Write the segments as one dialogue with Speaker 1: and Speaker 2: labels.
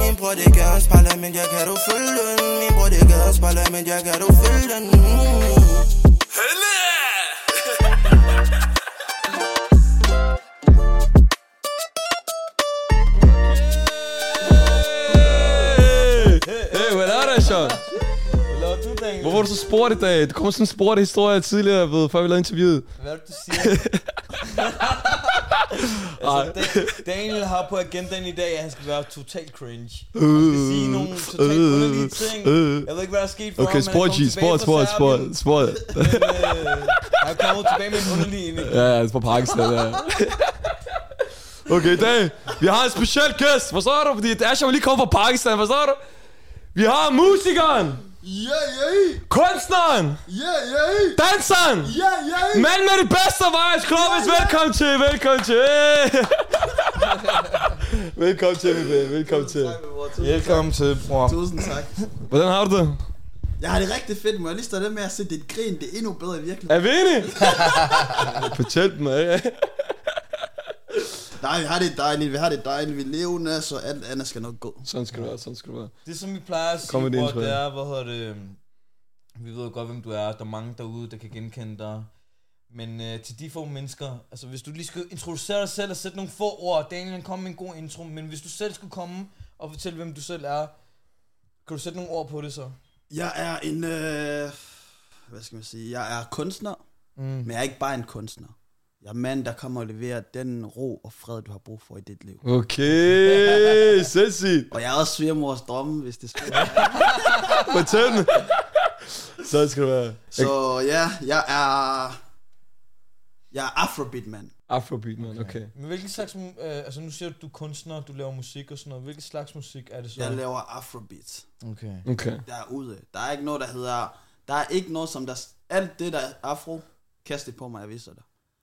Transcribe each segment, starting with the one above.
Speaker 1: Min bror det gerne spejler, men jeg kan du følge den Min bror det gerne spejler, men jeg kan du følge den mm.
Speaker 2: Hey, hvad er det, Sean? Hvorfor er du så spurgt i dag? Du kommer sådan en spurgt historie tidligere, ved, før vi lavede interviewet.
Speaker 3: Hvad er det, du siger? altså, Dan- Daniel har på agendaen i dag, at han skal være totalt cringe. Han skal sige nogle totalt
Speaker 2: øh,
Speaker 3: underlige ting.
Speaker 2: øh.
Speaker 3: Jeg ved ikke, hvad der er sket for
Speaker 2: Okay,
Speaker 3: ham. men han
Speaker 2: sport
Speaker 3: kom
Speaker 2: G,
Speaker 3: tilbage
Speaker 2: sport,
Speaker 3: fra
Speaker 2: sport, sport,
Speaker 3: Serbien,
Speaker 2: sport.
Speaker 3: Men, øh, han kommer tilbage med en underlig energi.
Speaker 2: Ja, ja, det er fra Pakistan, ja. Okay, i dag, vi har en speciel gæst, forstår du? Fordi Asher var lige kommet fra Pakistan, forstår du? Vi har musikeren,
Speaker 4: Yeah, yeah,
Speaker 2: kunstneren,
Speaker 4: yeah, yeah,
Speaker 2: danseren,
Speaker 4: yeah, yeah.
Speaker 2: mand med det bedste vejs, Klovis, velkommen til, velkommen til. velkommen til, min ven, velkommen til.
Speaker 3: Velkommen til, bror.
Speaker 4: Tusind tak.
Speaker 2: Hvordan har du det?
Speaker 4: Jeg har det rigtig fedt, må jeg lige stå der med at se dit grin, det er endnu bedre i virkeligheden.
Speaker 2: Er vi enige? Fortæl mig, ikke?
Speaker 4: Nej, vi har det dejligt, vi har det dejligt, vi lever så alt andet skal nok gå.
Speaker 2: Sådan skal du være, sådan skal du være.
Speaker 3: Det som vi plejer at sige,
Speaker 2: Kom med din
Speaker 3: bror,
Speaker 2: intro,
Speaker 3: det
Speaker 2: ja.
Speaker 3: er, hvad hedder det, øhm, vi ved jo godt, hvem du er, der er mange derude, der kan genkende dig. Men øh, til de få mennesker, altså hvis du lige skulle introducere dig selv og sætte nogle få ord, Daniel han kom med en god intro, men hvis du selv skulle komme og fortælle, hvem du selv er, kan du sætte nogle ord på det så?
Speaker 4: Jeg er en, øh, hvad skal man sige, jeg er kunstner,
Speaker 3: Mm.
Speaker 4: men jeg er ikke bare en kunstner. Jeg er mand, der kommer og leverer den ro og fred, du har brug for i dit liv.
Speaker 2: Okay, sindssygt.
Speaker 4: Og jeg er også svigermors drømme, hvis det skal.
Speaker 2: Fortæl mig. Sådan skal du være.
Speaker 4: Så ja, jeg er, jeg er afrobeat mand.
Speaker 2: Afrobeat, man. Okay.
Speaker 3: Men hvilken slags, mu- øh, altså nu siger du, du er kunstner, du laver musik og sådan noget, hvilken slags musik er det så?
Speaker 4: Jeg laver afrobeat.
Speaker 3: Okay.
Speaker 2: Okay.
Speaker 4: derude. Der er ikke noget, der hedder... Der er ikke noget, som der... Alt det, der er afro, kast det på mig, jeg viser dig.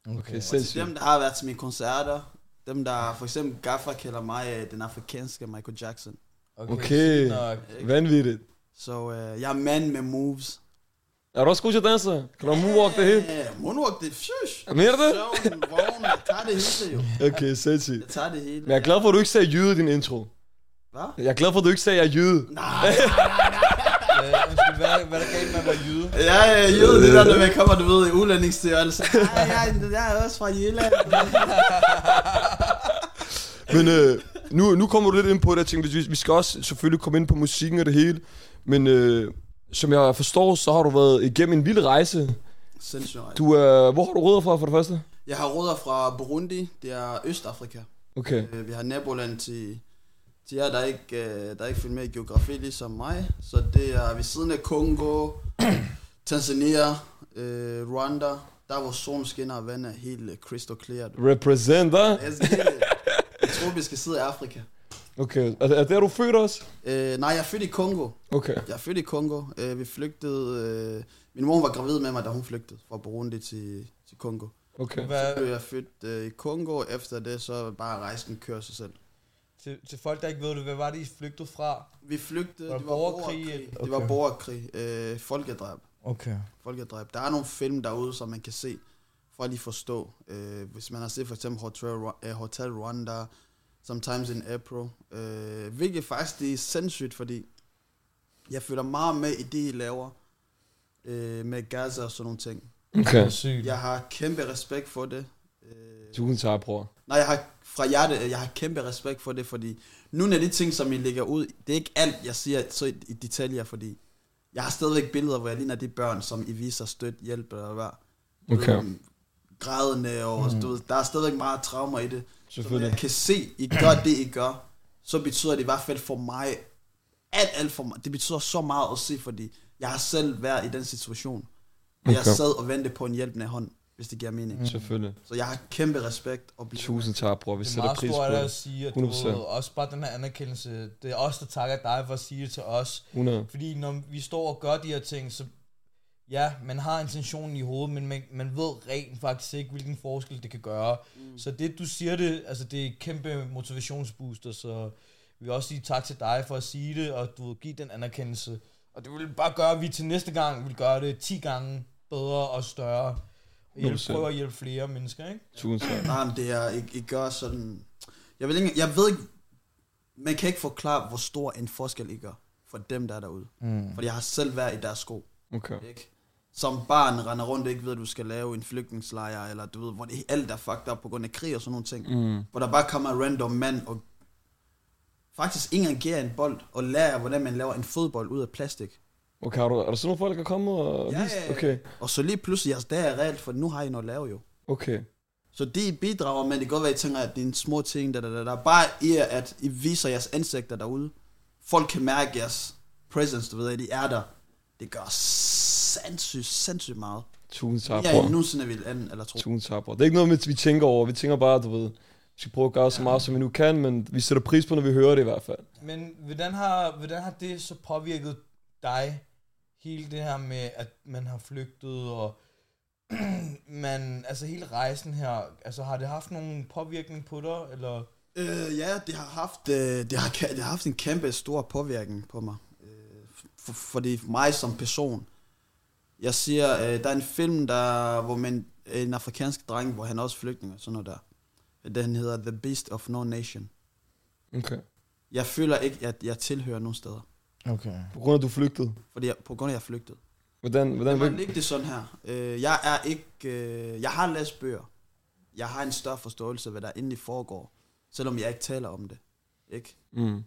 Speaker 2: Okay,
Speaker 4: Og til
Speaker 2: sindssygt.
Speaker 4: dem, der har været til mine koncerter, dem, der for eksempel Gaffa kalder mig øh, den afrikanske Michael Jackson.
Speaker 2: Okay.
Speaker 3: sygt nok. Øh,
Speaker 2: Vanvittigt.
Speaker 4: Så øh, jeg er mand med moves.
Speaker 2: Er du også god til at danse? Kan du moonwalk det hele?
Speaker 4: Øh, moonwalk, det er fjush.
Speaker 2: Mener du det?
Speaker 4: Søvn, vågen, jeg tager det hele jo.
Speaker 2: Okay, sindssygt.
Speaker 4: Jeg tager det
Speaker 2: Men
Speaker 4: hele.
Speaker 2: jeg er glad for, at du ikke sagde jyde i din intro.
Speaker 4: Hvad?
Speaker 2: Jeg er glad for, at du ikke sagde, at jeg er jyde.
Speaker 4: Nej,
Speaker 3: Øh, undskyld, hvad, hvad er der galt med at være jyde?
Speaker 4: ja, ja, jeg ved det der, når man kommer, du ved, i udlændingsstyrelsen. Nej, jeg, jeg er også fra Jylland.
Speaker 2: Men øh, nu, nu kommer du lidt ind på det, jeg tænkte, vi, vi skal også selvfølgelig komme ind på musikken og det hele. Men øh, som jeg forstår, så har du været igennem en vild rejse.
Speaker 4: Sindssygt. meget.
Speaker 2: Du, øh, hvor har du rødder fra, for det første?
Speaker 4: Jeg har rødder fra Burundi, det er Østafrika.
Speaker 2: Okay.
Speaker 4: Øh, Vi har naboland til, til jer, der ikke, øh, der ikke følger med i geografi ligesom mig. Så det er ved siden af Kongo, Tanzania, øh, Rwanda. Der hvor solen skinner og vandet er helt øh, crystal clear. du.
Speaker 2: Representer.
Speaker 4: Jeg skal- jeg tror, vi skal sidde i Afrika.
Speaker 2: Okay. Er, er det, er du født også?
Speaker 4: Øh, nej, jeg er født i Kongo.
Speaker 2: Okay.
Speaker 4: Jeg er født i Kongo. Øh, vi flygtede... Øh, min mor var gravid med mig, da hun flygtede fra Burundi til, til Kongo.
Speaker 2: Okay.
Speaker 4: Så
Speaker 3: Hvad,
Speaker 4: blev jeg født øh, i Kongo, og efter det så bare rejsen kører sig selv.
Speaker 3: til, til folk, der ikke ved det, hvad var det, I flygtede fra?
Speaker 4: Vi flygtede,
Speaker 3: Var
Speaker 4: det var
Speaker 3: borgerkrig,
Speaker 4: borgerkrig. borgerkrig.
Speaker 3: eller-
Speaker 4: Det var
Speaker 3: Okay.
Speaker 4: borgerkrig. Øh, folkedrab.
Speaker 3: Okay.
Speaker 4: Folkedrab. Der er nogle film derude, som man kan se, for at lige forstå. Øh, hvis man har set for eksempel Hotel, Rwa- øh, Hotel Rwanda, Sometimes in April, øh, hvilket faktisk det er sindssygt, fordi jeg føler meget med i det, I laver øh, med Gaza og sådan nogle ting.
Speaker 2: Okay.
Speaker 3: Det er sygt.
Speaker 4: Jeg har kæmpe respekt for det. Øh,
Speaker 2: Tusind tak, bror.
Speaker 4: Nej, jeg har fra hjertet, jeg har kæmpe respekt for det, fordi nogle af de ting, som I lægger ud, det er ikke alt, jeg siger så i, i detaljer, fordi jeg har stadigvæk billeder, hvor jeg ligner de børn, som I viser støtte, hjælp og hvad. Du ved,
Speaker 2: Okay.
Speaker 4: Grædende og mm. du ved, der er stadigvæk meget traumer i det. Så når
Speaker 2: Selvfølgelig.
Speaker 4: jeg kan se, I gør det, I gør, så betyder det i hvert fald for mig, alt, alt for mig, det betyder så meget at se, fordi jeg har selv været i den situation. Okay. Jeg
Speaker 2: Okay.
Speaker 4: sad og ventede på en hjælpende hånd, hvis det giver mening. Mm.
Speaker 2: Selvfølgelig.
Speaker 4: Så jeg har kæmpe respekt og bliver
Speaker 2: Tusind tak, bror. Vi
Speaker 3: Det er
Speaker 2: sætter
Speaker 3: meget
Speaker 2: pris
Speaker 3: stort
Speaker 2: på
Speaker 3: af dig at
Speaker 4: altså.
Speaker 2: det.
Speaker 3: sige,
Speaker 2: 100%.
Speaker 3: at du også bare den her anerkendelse, det er os, der takker dig for at sige det til os.
Speaker 2: 100.
Speaker 3: Fordi når vi står og gør de her ting, så ja, man har intentionen i hovedet, men man, man ved rent faktisk ikke, hvilken forskel det kan gøre. Mm. Så det, du siger det, altså det er et kæmpe motivationsbooster, så vi vil også sige tak til dig for at sige det, og du vil give den anerkendelse. Og det vil bare gøre, at vi til næste gang vil gøre det 10 gange bedre og større. Og hjælpe,
Speaker 2: 100%.
Speaker 3: prøve at hjælpe flere mennesker, ikke?
Speaker 2: Tusind tak.
Speaker 4: Nej, men det er, I, I gør sådan... Jeg, vil ikke, jeg ved ikke, man kan ikke forklare, hvor stor en forskel I gør for dem, der er derude.
Speaker 3: Mm.
Speaker 4: For jeg har selv været i deres sko.
Speaker 2: Okay.
Speaker 4: Ikke? Som barn render rundt og ikke ved, at du skal lave en flygtningslejr, eller du ved, hvor det alt er fucked up på grund af krig og sådan nogle ting.
Speaker 2: Mm.
Speaker 4: Hvor der bare kommer en random mand og faktisk ikke engang giver en bold, og lærer, jer, hvordan man laver en fodbold ud af plastik.
Speaker 2: Okay, har du, er der sådan nogle folk, der kommer og
Speaker 4: Ja,
Speaker 2: vise?
Speaker 4: ja, ja.
Speaker 2: Okay,
Speaker 4: Og så lige pludselig, jeres dag er reelt, for nu har I noget at lave jo.
Speaker 2: okay.
Speaker 4: Så det I bidrager, men det kan godt være, at I tænker, at det er en små ting, der, der, der, der. Bare i, at I viser jeres ansigter derude. Folk kan mærke jeres presence, du ved, at I er der. Det gør sindssygt, sindssygt meget.
Speaker 2: Tusind tak,
Speaker 4: Ja,
Speaker 2: bror.
Speaker 4: I nogensinde vil anden eller tro.
Speaker 2: Tusind tak, bror. Det er ikke noget, vi tænker over. Vi tænker bare, du ved, vi skal prøve at gøre så meget, som vi nu kan, men vi sætter pris på, når vi hører det i hvert fald.
Speaker 3: Men hvordan har, hvordan har det så påvirket dig, hele det her med, at man har flygtet, og man, altså hele rejsen her, altså har det haft nogen påvirkning på dig, eller?
Speaker 4: Øh, ja, det har, haft, øh, det, har, ka- det har haft en kæmpe stor påvirkning på mig. Øh, for, for det er mig som person. Jeg siger, øh, der er en film, der, hvor man, en afrikansk dreng, hvor han er også flygtning og sådan noget der. Den hedder The Beast of No Nation.
Speaker 2: Okay.
Speaker 4: Jeg føler ikke, at jeg tilhører nogen steder.
Speaker 3: Okay.
Speaker 2: På grund af, at du flygtede. Fordi...
Speaker 4: Fordi jeg, på grund af, at jeg flygtede.
Speaker 2: Hvordan, hvordan,
Speaker 4: Lad mig
Speaker 2: hvordan,
Speaker 4: lægge det sådan her. Øh, jeg er ikke... Øh, jeg har læst bøger. Jeg har en større forståelse af, hvad der endelig foregår. Selvom jeg ikke taler om det. Ikke?
Speaker 2: mm.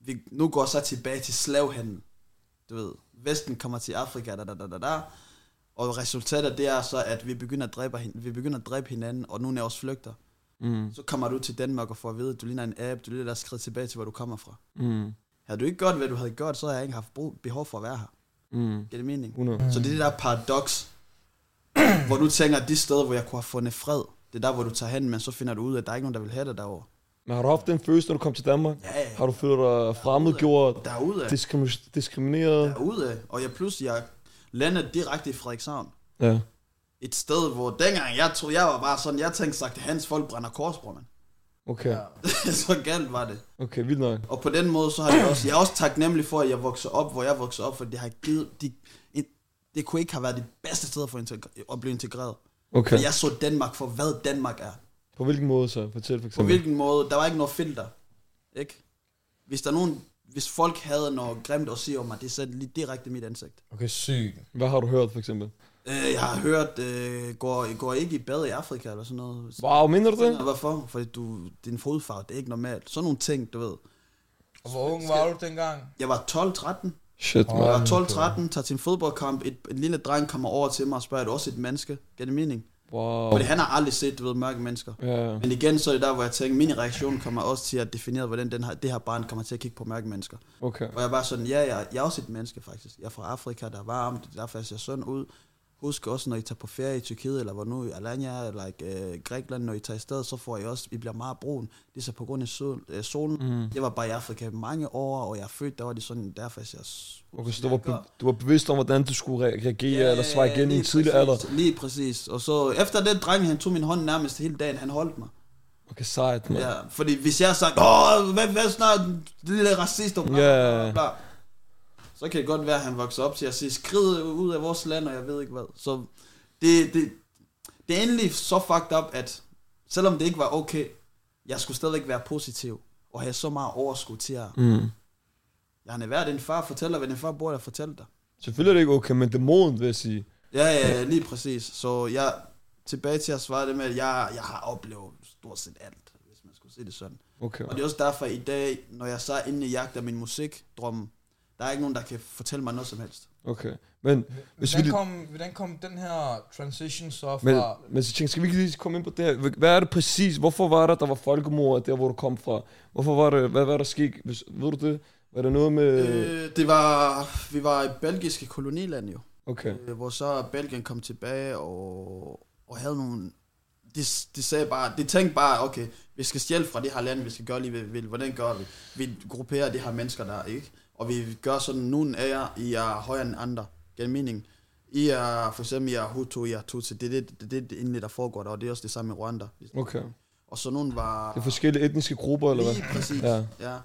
Speaker 4: vi nu går så tilbage til slavhandel. Du ved, Vesten kommer til Afrika, da, da, da, da, da. Og resultatet det er så, at vi begynder at dræbe, hin- vi begynder at dræbe hinanden, og nogle af os flygter.
Speaker 2: Mm.
Speaker 4: Så kommer du til Danmark og får at vide, at du ligner en app, du ligner der skridt tilbage til, hvor du kommer fra.
Speaker 2: Mm.
Speaker 4: Havde du ikke gjort, hvad du havde gjort, så havde jeg ikke haft brug, behov for at være her.
Speaker 2: Mm.
Speaker 4: Giver det mening?
Speaker 2: 100.
Speaker 4: Så det er det der paradoks, hvor du tænker, at de steder, hvor jeg kunne have fundet fred, det er der, hvor du tager hen, men så finder du ud af, at der er ikke nogen, der vil have dig derovre.
Speaker 2: Men har du haft den følelse, når du kom til Danmark?
Speaker 4: Ja, ja.
Speaker 2: Har du følt dig fremmedgjort,
Speaker 4: Derude.
Speaker 2: diskrim- diskrimineret?
Speaker 4: derude, og jeg pludselig jeg landede direkte i Frederikshavn.
Speaker 2: Ja.
Speaker 4: Et sted, hvor dengang jeg troede, jeg var bare sådan, jeg tænkte sagt, hans folk brænder korsbror, mand.
Speaker 2: Okay.
Speaker 4: så galt var det.
Speaker 2: Okay, vildt nok.
Speaker 4: Og på den måde, så har jeg også, jeg er også taknemmelig for, at jeg voksede op, hvor jeg voksede op, for det har givet, de, en, det kunne ikke have været det bedste sted for integra- at blive integreret.
Speaker 2: Okay.
Speaker 4: For jeg så Danmark for, hvad Danmark er.
Speaker 2: På hvilken måde så? Fortæl for
Speaker 4: På
Speaker 2: eksempel.
Speaker 4: hvilken måde, der var ikke noget filter. Ikke? Hvis der er nogen, hvis folk havde noget grimt at sige om mig, det satte lige direkte i mit ansigt.
Speaker 3: Okay, sygt.
Speaker 2: Hvad har du hørt for eksempel?
Speaker 4: Øh, jeg har hørt, øh, går, går ikke i bad i Afrika eller sådan noget.
Speaker 2: Wow, minder du det?
Speaker 4: Og Hvorfor? Fordi du, din fodfarve, det er ikke normalt. Sådan nogle ting, du ved.
Speaker 3: Og hvor ung var du dengang?
Speaker 4: Jeg var 12-13.
Speaker 2: Shit,
Speaker 4: Jeg
Speaker 2: man.
Speaker 4: var 12-13, tager til en fodboldkamp. Et, en lille dreng kommer over til mig og spørger, er du også et menneske? Giver det mening?
Speaker 2: Wow.
Speaker 4: Fordi han har aldrig set, du ved, mørke mennesker.
Speaker 2: Ja.
Speaker 4: Men igen, så er det der, hvor jeg tænker, min reaktion kommer også til at definere, hvordan den her, det her barn kommer til at kigge på mørke mennesker.
Speaker 2: Okay.
Speaker 4: Og jeg var sådan, ja, jeg, jeg er også et menneske faktisk. Jeg er fra Afrika, der er varmt, det er derfor jeg ser sådan ud. Husk også, når I tager på ferie i Tyrkiet, eller hvor nu i Alanya, eller øh, Grækenland, når I tager afsted, så får I også, I bliver meget brun. Det er så på grund af sol, øh, solen. Mm. Jeg var bare i Afrika i mange år, og jeg er født, der var det sådan, derfor jeg ser... s-
Speaker 2: Okay, så
Speaker 4: som
Speaker 2: du
Speaker 4: jeg
Speaker 2: var,
Speaker 4: gør.
Speaker 2: be- du var bevidst om, hvordan du skulle re- reagere E eller svare igen i
Speaker 4: lige
Speaker 2: en tidlig
Speaker 4: præcis,
Speaker 2: alder.
Speaker 4: Lige præcis. Og så efter den dreng, han tog min hånd nærmest hele dagen, han holdt mig.
Speaker 2: Okay, sejt, mand.
Speaker 4: Ja, fordi hvis jeg har sagt, åh, hvad, hvad snart, lille racist, og bla, bla,
Speaker 2: Ja.
Speaker 4: bla, bla, så kan det godt være, at han vokser op til at sige, skrid ud af vores land, og jeg ved ikke hvad. Så det, det, det er endelig så fucked up, at selvom det ikke var okay, jeg skulle stadigvæk være positiv, og have så meget overskud til at,
Speaker 2: Mm.
Speaker 4: jeg har været en far, fortæller, hvad din far bor der fortæller dig.
Speaker 2: Selvfølgelig er det ikke okay, men det er moden, vil jeg sige.
Speaker 4: Ja, ja, lige præcis. Så jeg tilbage til at svare det med, at jeg, jeg har oplevet stort set alt, hvis man skulle se det sådan.
Speaker 2: Okay.
Speaker 4: Og det er også derfor i dag, når jeg så er inde i jagt af min musikdrømme, der er ikke nogen, der kan fortælle mig noget som helst.
Speaker 2: Okay. Men, hvis vi
Speaker 3: Hvordan
Speaker 2: lige,
Speaker 3: kom, hvordan kom den her transition så
Speaker 2: men,
Speaker 3: fra...
Speaker 2: men så tænker, skal vi ikke lige komme ind på det her? Hvad er det præcis? Hvorfor var der, der var folkemord der, hvor du kom fra? Hvorfor var det, hvad var der sket? Hvis, ved du det? Var der noget med...
Speaker 4: Øh, det var, vi var i belgiske koloniland jo,
Speaker 2: Okay.
Speaker 4: øh, hvor så Belgien kom tilbage og, og havde nogle... De, de sagde bare, de tænkte bare, okay, vi skal stjæle fra det her land, vi skal gøre lige, hvad vi vil. Hvordan gør vi? Vi grupperer de her mennesker der, ikke? Og vi gør sådan, nogle af jer, I er højere end andre. Gennem mening. I er, for eksempel, I er Hutu, I er Tutsi. Det er det, det, det, det egentlig, der foregår der, og det er også det samme i Rwanda.
Speaker 2: Okay.
Speaker 4: Og så nogen var...
Speaker 2: Det er forskellige etniske grupper, eller hvad?
Speaker 4: Lige præcis,
Speaker 2: Ja.
Speaker 4: ja. ja.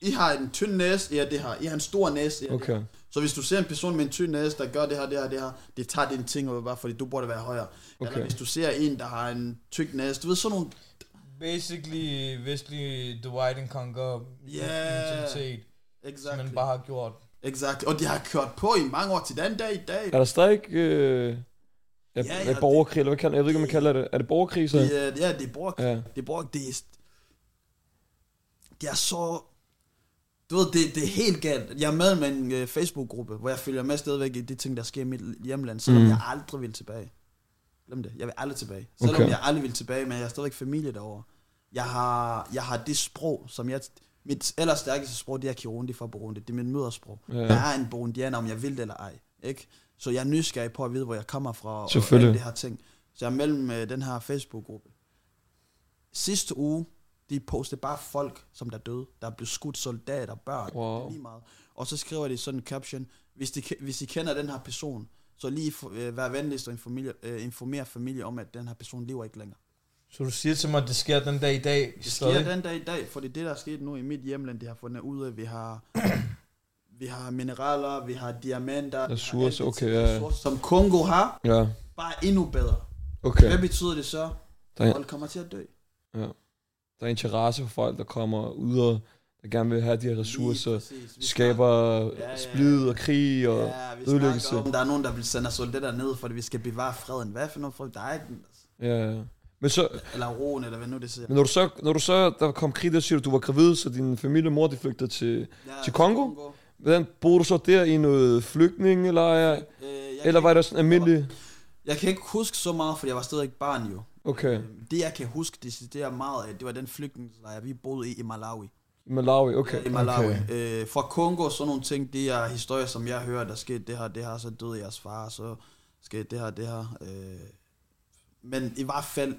Speaker 4: I har en tynd næse, ja det her. I har en stor næse, ja okay.
Speaker 2: Okay.
Speaker 4: Så hvis du ser en person med en tynd næse, der gør det her, det her, det her, det tager dine ting, og bare fordi du burde være højere. Okay.
Speaker 2: Okay.
Speaker 4: Eller hvis du ser en, der har en tyk næse, du ved sådan nogle...
Speaker 3: basically vestlig Divide and Conquer
Speaker 4: Yeah.
Speaker 3: mentalitet, som
Speaker 4: Exactly.
Speaker 3: man bare har gjort.
Speaker 4: Exactly. Og de har kørt på i mange år til den dag i dag.
Speaker 2: Er der stadig ikke... Øh, er,
Speaker 4: Ja,
Speaker 2: ja,
Speaker 4: ja,
Speaker 2: ja, borgerkrig, eller hvad kalder, jeg ved ikke, om man kalder det. Er det borgerkrig, så?
Speaker 4: De, øh, ja, de bruger,
Speaker 2: Ja.
Speaker 4: de bruger, de, er- de er så, du ved, det, det er helt galt. Jeg er med med en øh, Facebook-gruppe, hvor jeg følger med stadigvæk i de ting, der sker i mit hjemland, selvom mm.
Speaker 2: Mm.
Speaker 4: jeg aldrig vil tilbage. Glem det, jeg vil aldrig tilbage. Selvom okay.
Speaker 2: Okay.
Speaker 4: jeg aldrig vil tilbage, men jeg er stadigvæk familie derovre. Jeg har, jeg har det sprog, som jeg, mit allerstærkeste sprog, det er Kirundi fra Burundi. Det er mit mødersprog.
Speaker 2: Ja.
Speaker 4: Jeg er en burundianer, om jeg vil det eller ej. Ikke? Så jeg er nysgerrig på at vide, hvor jeg kommer fra og
Speaker 2: Selvfølgelig.
Speaker 4: alle det her ting. Så jeg er mellem øh, den her Facebook-gruppe. Sidste uge, de postede bare folk, som der er døde. Der er blevet skudt soldater, børn,
Speaker 2: Wow.
Speaker 4: det er lige meget. Og så skriver de sådan en caption, hvis de, ke- hvis de kender den her person, så lige for, øh, vær venligst og informere, øh, informere familie om, at den her person lever ikke længere.
Speaker 3: Så du siger til mig, at det sker den dag i dag?
Speaker 4: Det
Speaker 3: stadig?
Speaker 4: sker den dag i dag, for det er det, der er sket nu i mit hjemland, det har fundet ud af, vi har, vi har mineraler, vi har diamanter, vi har
Speaker 2: Ressourcer,
Speaker 4: alle de ting,
Speaker 2: okay, ja.
Speaker 4: ressourcer, som Kongo har,
Speaker 2: Ja,
Speaker 4: bare endnu bedre.
Speaker 2: okay.
Speaker 4: Hvad betyder det så?
Speaker 2: Der er,
Speaker 4: Folk kommer til at dø.
Speaker 2: der er interesse for folk, der kommer ud og der gerne vil have de her ressourcer.
Speaker 4: Lige præcis. Vi
Speaker 2: Skaber
Speaker 4: ja, ja.
Speaker 2: splid og krig og...
Speaker 4: snakker- ja, vi
Speaker 2: ødelæggelse.
Speaker 4: snakker om, der er nogen, der vil sende os soldater ned, for at vi skal bevare freden. Hvad for noget fred? Der er ikke,
Speaker 2: Ja, ja. Men så,
Speaker 4: eller roen, eller hvad nu det siger.
Speaker 2: men når du så, når du så der kom krig, der siger du, du var gravid, så din familie og mor, de flygtede til...
Speaker 4: Ja,
Speaker 2: til Congo? Hvordan boede du så der i noget flygtningelejr?
Speaker 4: Øh, jeg,
Speaker 2: Eller
Speaker 4: kan,
Speaker 2: var det sådan almindelig...
Speaker 4: jeg kan ikke huske så meget, for jeg var stadig ikke barn jo.
Speaker 2: Okay,
Speaker 4: Øh, Det jeg kan huske decideret meget af, det var den flygtningelejr, vi boede i i Malawi.
Speaker 2: i Malawi, okay.
Speaker 4: Ja, I Malawi. Okay. Øh, fra Kongo og sådan nogle ting, det er historier, som jeg hører, der skete det her, det her, så døde jeres far, så skete det her, det her. Øh, men i hvert fald,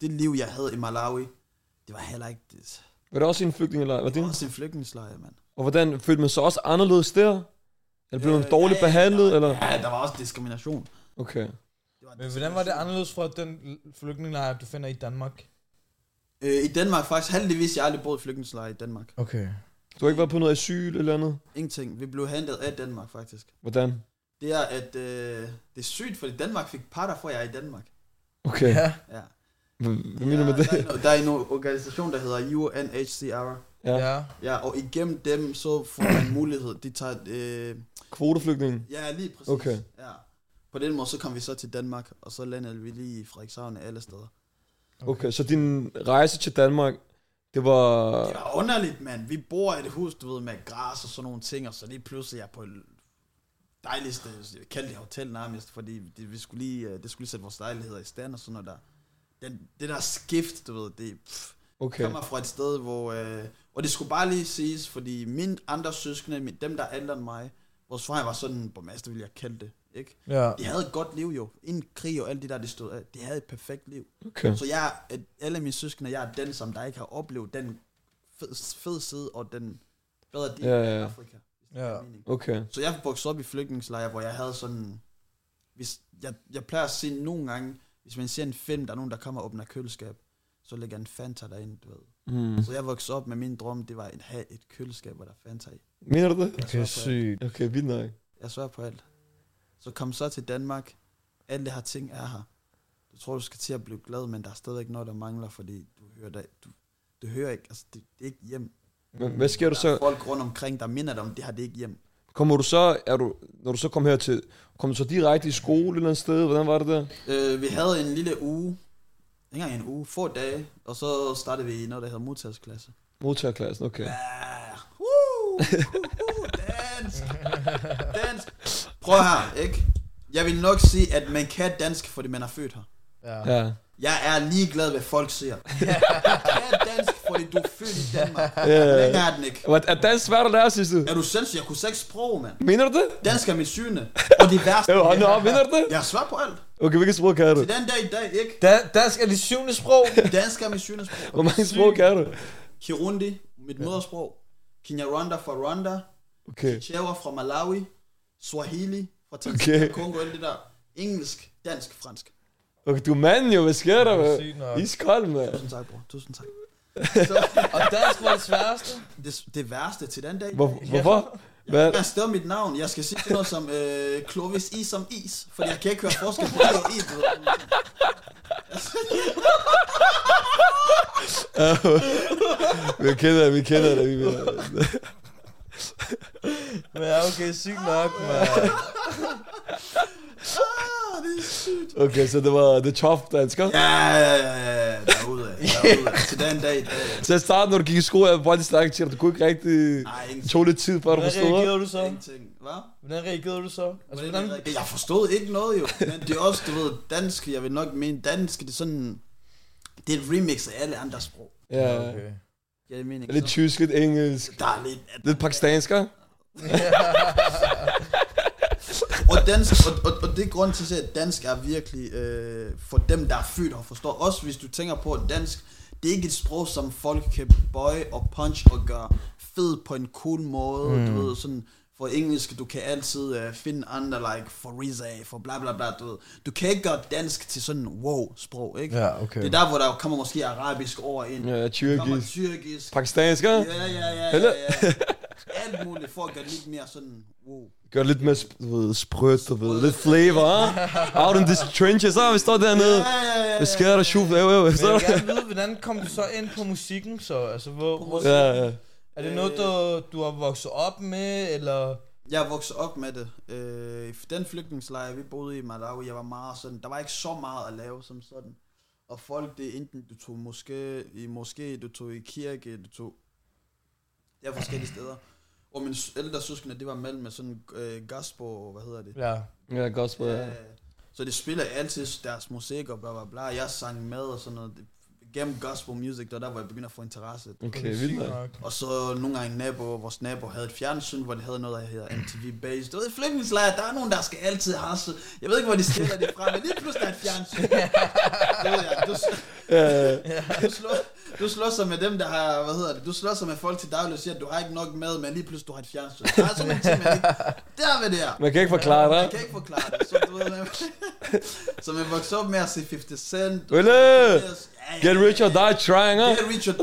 Speaker 4: det liv, jeg havde i Malawi, det var heller ikke... Det,
Speaker 2: Var det også i en flygtningelejr? Var
Speaker 4: det
Speaker 2: det
Speaker 4: var også en flygtningelejr, mand.
Speaker 2: Og hvordan følte man sig også anderledes der? Eller blev man
Speaker 4: Øh,
Speaker 2: dårligt
Speaker 4: ja, ja,
Speaker 2: behandlet?
Speaker 4: der var-
Speaker 2: Eller?
Speaker 4: Ja, der var også diskrimination.
Speaker 2: Okay.
Speaker 4: Det var
Speaker 3: Men hvordan var det anderledes fra den l- flygtningelejr, du finder i Danmark?
Speaker 4: Øh, I Danmark faktisk, heldigvis, jeg har aldrig boet i flygtningelejr i Danmark.
Speaker 3: Okay.
Speaker 2: Du har ikke været på noget asyl eller andet?
Speaker 4: Ingenting. Vi blev hentet af Danmark, faktisk.
Speaker 2: Hvordan?
Speaker 4: Det er, at øh, det er sygt, fordi Danmark fik parter for, at jeg er i Danmark.
Speaker 2: Okay.
Speaker 3: Ja.
Speaker 4: Ja.
Speaker 2: Hvad hvad mener du med det?
Speaker 4: Der er, no- der er en organisation, der hedder UNHCR.
Speaker 2: Ja.
Speaker 3: ja.
Speaker 4: Ja, og igennem dem, så får man mulighed. De tager, øh,
Speaker 2: Kvoteflygtning?
Speaker 4: ja, lige præcis.
Speaker 2: Okay.
Speaker 4: Ja. På den måde, så kom vi så til Danmark, og så landede vi lige i Frederikshavn og alle steder.
Speaker 2: Okay, så din rejse til Danmark, det var...
Speaker 4: Det var underligt, mand. Vi bor i et hus, du ved, med græs og sådan nogle ting, og så lige pludselig er jeg på et dejligt sted. Jeg kaldte det hotel nærmest, fordi det, vi skulle lige, øh, det skulle lige sætte vores lejligheder i stand og sådan noget der. Den, det der skift, du ved, det pff, okay.
Speaker 2: Okay.
Speaker 4: kommer fra et sted, hvor... Øh, og det skulle bare lige siges, fordi mine andre søskende, min- dem der er ældre end mig, vores far var sådan en borgmester, ville jeg kalde det, ikke?
Speaker 3: Ja.
Speaker 4: De havde et godt liv jo, inden krig og alt det der, de stod af. De havde et perfekt liv.
Speaker 2: Okay.
Speaker 4: Så jeg, at alle mine søskende, jeg er den, som der ikke har oplevet den fed, fed side og den bedre del
Speaker 2: Ja,
Speaker 4: af
Speaker 2: ja, ja.
Speaker 4: Afrika. hvis det
Speaker 3: Ja.
Speaker 4: giver mening.
Speaker 2: Okay.
Speaker 4: Så jeg voksede op i flygtningslejre, hvor jeg havde sådan... Hvis, jeg, jeg plejer at se nogle gange, hvis man ser en film, der er nogen, der kommer og åbner køleskab, så lægger en Fanta derinde, du ved.
Speaker 2: Hmm.
Speaker 4: Så jeg voksede op med min drøm, det var at have et køleskab, hvor der er Fanta i.
Speaker 2: Mener du det?
Speaker 3: Okay, sygt.
Speaker 2: Okay, vildt nok.
Speaker 4: Jeg svær på alt. Så kom så til Danmark. Alle det her ting er her. Du tror, du skal til at blive glad, men der er stadigvæk noget, der mangler, fordi du hører, dig, du, du hører ikke, altså det, det er ikke hjem.
Speaker 2: Men hvad sker du
Speaker 4: Der
Speaker 2: så?
Speaker 4: er folk rundt omkring, der minder dig om, det her det er ikke hjem.
Speaker 2: Kommer du så, er du, når du så kom her til, kom du så direkte i skole et eller andet sted? Hvordan var det der?
Speaker 4: Øh, vi havde en lille uge, ikke engang en uge, få dage, og så startede vi i noget, der hedder modtagsklasse.
Speaker 2: Modtagerklassen, okay.
Speaker 4: Ja, woo, woo, dansk, dansk. Prøv her, ikke? Jeg vil nok sige, at man kan dansk, fordi man er født her.
Speaker 3: Ja.
Speaker 2: Ja.
Speaker 4: Jeg er ligeglad, hvad folk siger. Jeg er dansk, fordi du er født i Danmark.
Speaker 2: Ja.
Speaker 4: Længere er den ikke.
Speaker 2: Var- Er dansk svært at lære, synes du?
Speaker 4: Er du sindssyg? Jeg kunne seks sprog, mand.
Speaker 2: Mener du det?
Speaker 4: Dansk er mit syne. Og det værste.
Speaker 2: Jo, nå, mener du det?
Speaker 4: Jeg er svar på alt.
Speaker 2: Okay, hvilket sprog kan du?
Speaker 4: Til den dag i dag, ikke?
Speaker 3: Da- dansk er det syvende sprog.
Speaker 4: Dansk er mit syne sprog.
Speaker 2: Hvor mange sprog kan du?
Speaker 4: Kirundi, mit modersprog. Kinyarwanda fra Rwanda.
Speaker 2: Okay.
Speaker 4: Chewa fra Malawi. Swahili fra
Speaker 2: Okay.
Speaker 4: Tanzania, Kongo, alt det der. Engelsk, dansk, fransk.
Speaker 2: Okay, du er manden jo, hvad sker der,
Speaker 3: Det
Speaker 2: man?
Speaker 3: er sygt nok.
Speaker 2: Iskold, man.
Speaker 4: Tusind tak, bror. Tusind tak. Så,
Speaker 3: Og dansk var det sværeste.
Speaker 4: det, det værste til den dag. i dag,
Speaker 2: Hvor, hvorfor? Hvad?
Speaker 4: Jeg stadig mit navn. Jeg skal sige sådan noget som øh, Clovis I som is, fordi jeg kan ikke høre forskel på E, det og I. du ved.
Speaker 2: Vi kender det, vi kender det. Vi
Speaker 3: Men ja, okay, sygt nok, man.
Speaker 4: Ah, det er sygt.
Speaker 2: Okay, så det var The Tough Dansker.
Speaker 4: Ja, ja, ja, ja, ja. Derude, derude. Til den dag i dag.
Speaker 2: Så i starten, når du gik i skole, jeg var bare lige snakket til dig. Du kunne ikke rigtig...
Speaker 4: Nej,
Speaker 2: Det
Speaker 4: ingenting.
Speaker 2: tog lidt tid, før du
Speaker 3: Hvordan
Speaker 2: forstod det.
Speaker 3: reagerede du så?
Speaker 4: ingenting. Hvad?
Speaker 3: Hvordan reagerede du så? Altså, hvordan...
Speaker 4: Jeg forstod ikke noget jo, men det er også, du ved, dansk, jeg vil nok mene, dansk, det er sådan, det er et remix af alle andre sprog.
Speaker 2: Ja,
Speaker 3: Okay.
Speaker 4: Jeg mener,
Speaker 2: lidt
Speaker 4: ikke?
Speaker 2: tysk, lidt engelsk,
Speaker 4: Der er lidt,
Speaker 2: lidt pakistansker.
Speaker 4: og dansk, og, og, og det er grunden til, at dansk er virkelig øh, for dem, der er født og forstår. Også hvis du tænker på, at dansk, det er ikke et sprog, som folk kan bøje og punch og gøre fed på en cool måde. Mm. Du ved, sådan, for engelsk, du kan altid øh, finde andre, like for Riza, for bla bla bla, du ved. Du kan ikke gøre dansk til sådan en wow-sprog, ikke?
Speaker 3: Ja, okay.
Speaker 4: Det er der, hvor der kommer måske arabisk over ind.
Speaker 2: Ja,
Speaker 4: Der kommer
Speaker 2: tyrkisk.
Speaker 4: tyrkisk.
Speaker 2: Pakistansker.
Speaker 4: Ja, ja, ja, ja,
Speaker 2: Eller-
Speaker 4: ja. Alt muligt for at gøre det lidt mere sådan, wow.
Speaker 2: Gør det lidt mere sp- du ved, sprødt, du ved. Lidt flavor, ah? Out in these trenches, ah? Vi står dernede.
Speaker 4: Ja, ja, ja, ja.
Speaker 2: Hvad sker der, Shuf? Øv, øv,
Speaker 3: Men
Speaker 2: så.
Speaker 3: jeg vil gerne vide, hvordan kom du så ind på musikken så? Altså, hvor, hvor
Speaker 2: Ja, ja.
Speaker 3: er det noget, du, du har vokset op med, eller...
Speaker 4: Jeg er vokset op med det. Øh, i den flygtningslejr, vi boede i Malawi, jeg var meget sådan, der var ikke så meget at lave som sådan. Og folk, det er enten du tog måske, i moské, du tog i kirke, du tog... Det er forskellige steder. Og min s- ældre søskende, det var mellem med sådan øh, gospel, hvad hedder det?
Speaker 3: Ja.
Speaker 2: Ja, gospel, ja.
Speaker 4: Ja. Så de spiller altid deres musik og bla bla bla. Jeg sang med og sådan noget. Gennem gospel music, der der, hvor jeg begynder at få interesse.
Speaker 2: Okay, vildt nok.
Speaker 4: Og så nogle gange nabo, vores nabo havde et fjernsyn, hvor det havde noget, der hedder MTV Base. Du ved, i flygtningslejr, der er nogen, der skal altid hasse. Jeg ved ikke, hvor de stiller det fra, men lige pludselig er et fjernsyn. Du, ved, ja, du,
Speaker 2: Ja, ja.
Speaker 4: du, slår, du slår sig med dem, der har, hvad hedder det, du slår sig med folk til daglig og siger, at du har ikke nok med, men lige pludselig du har et fjernsyn. Der er sådan en ting, man ikke... Der ved det her.
Speaker 2: Man kan ikke forklare dig.
Speaker 4: Jeg kan ikke forklare det, så du ved Så man voksede op med at se 50 Cent.
Speaker 2: Wille!
Speaker 4: Ja, ja,
Speaker 2: Get rich or die trying, ah?
Speaker 4: Get rich or...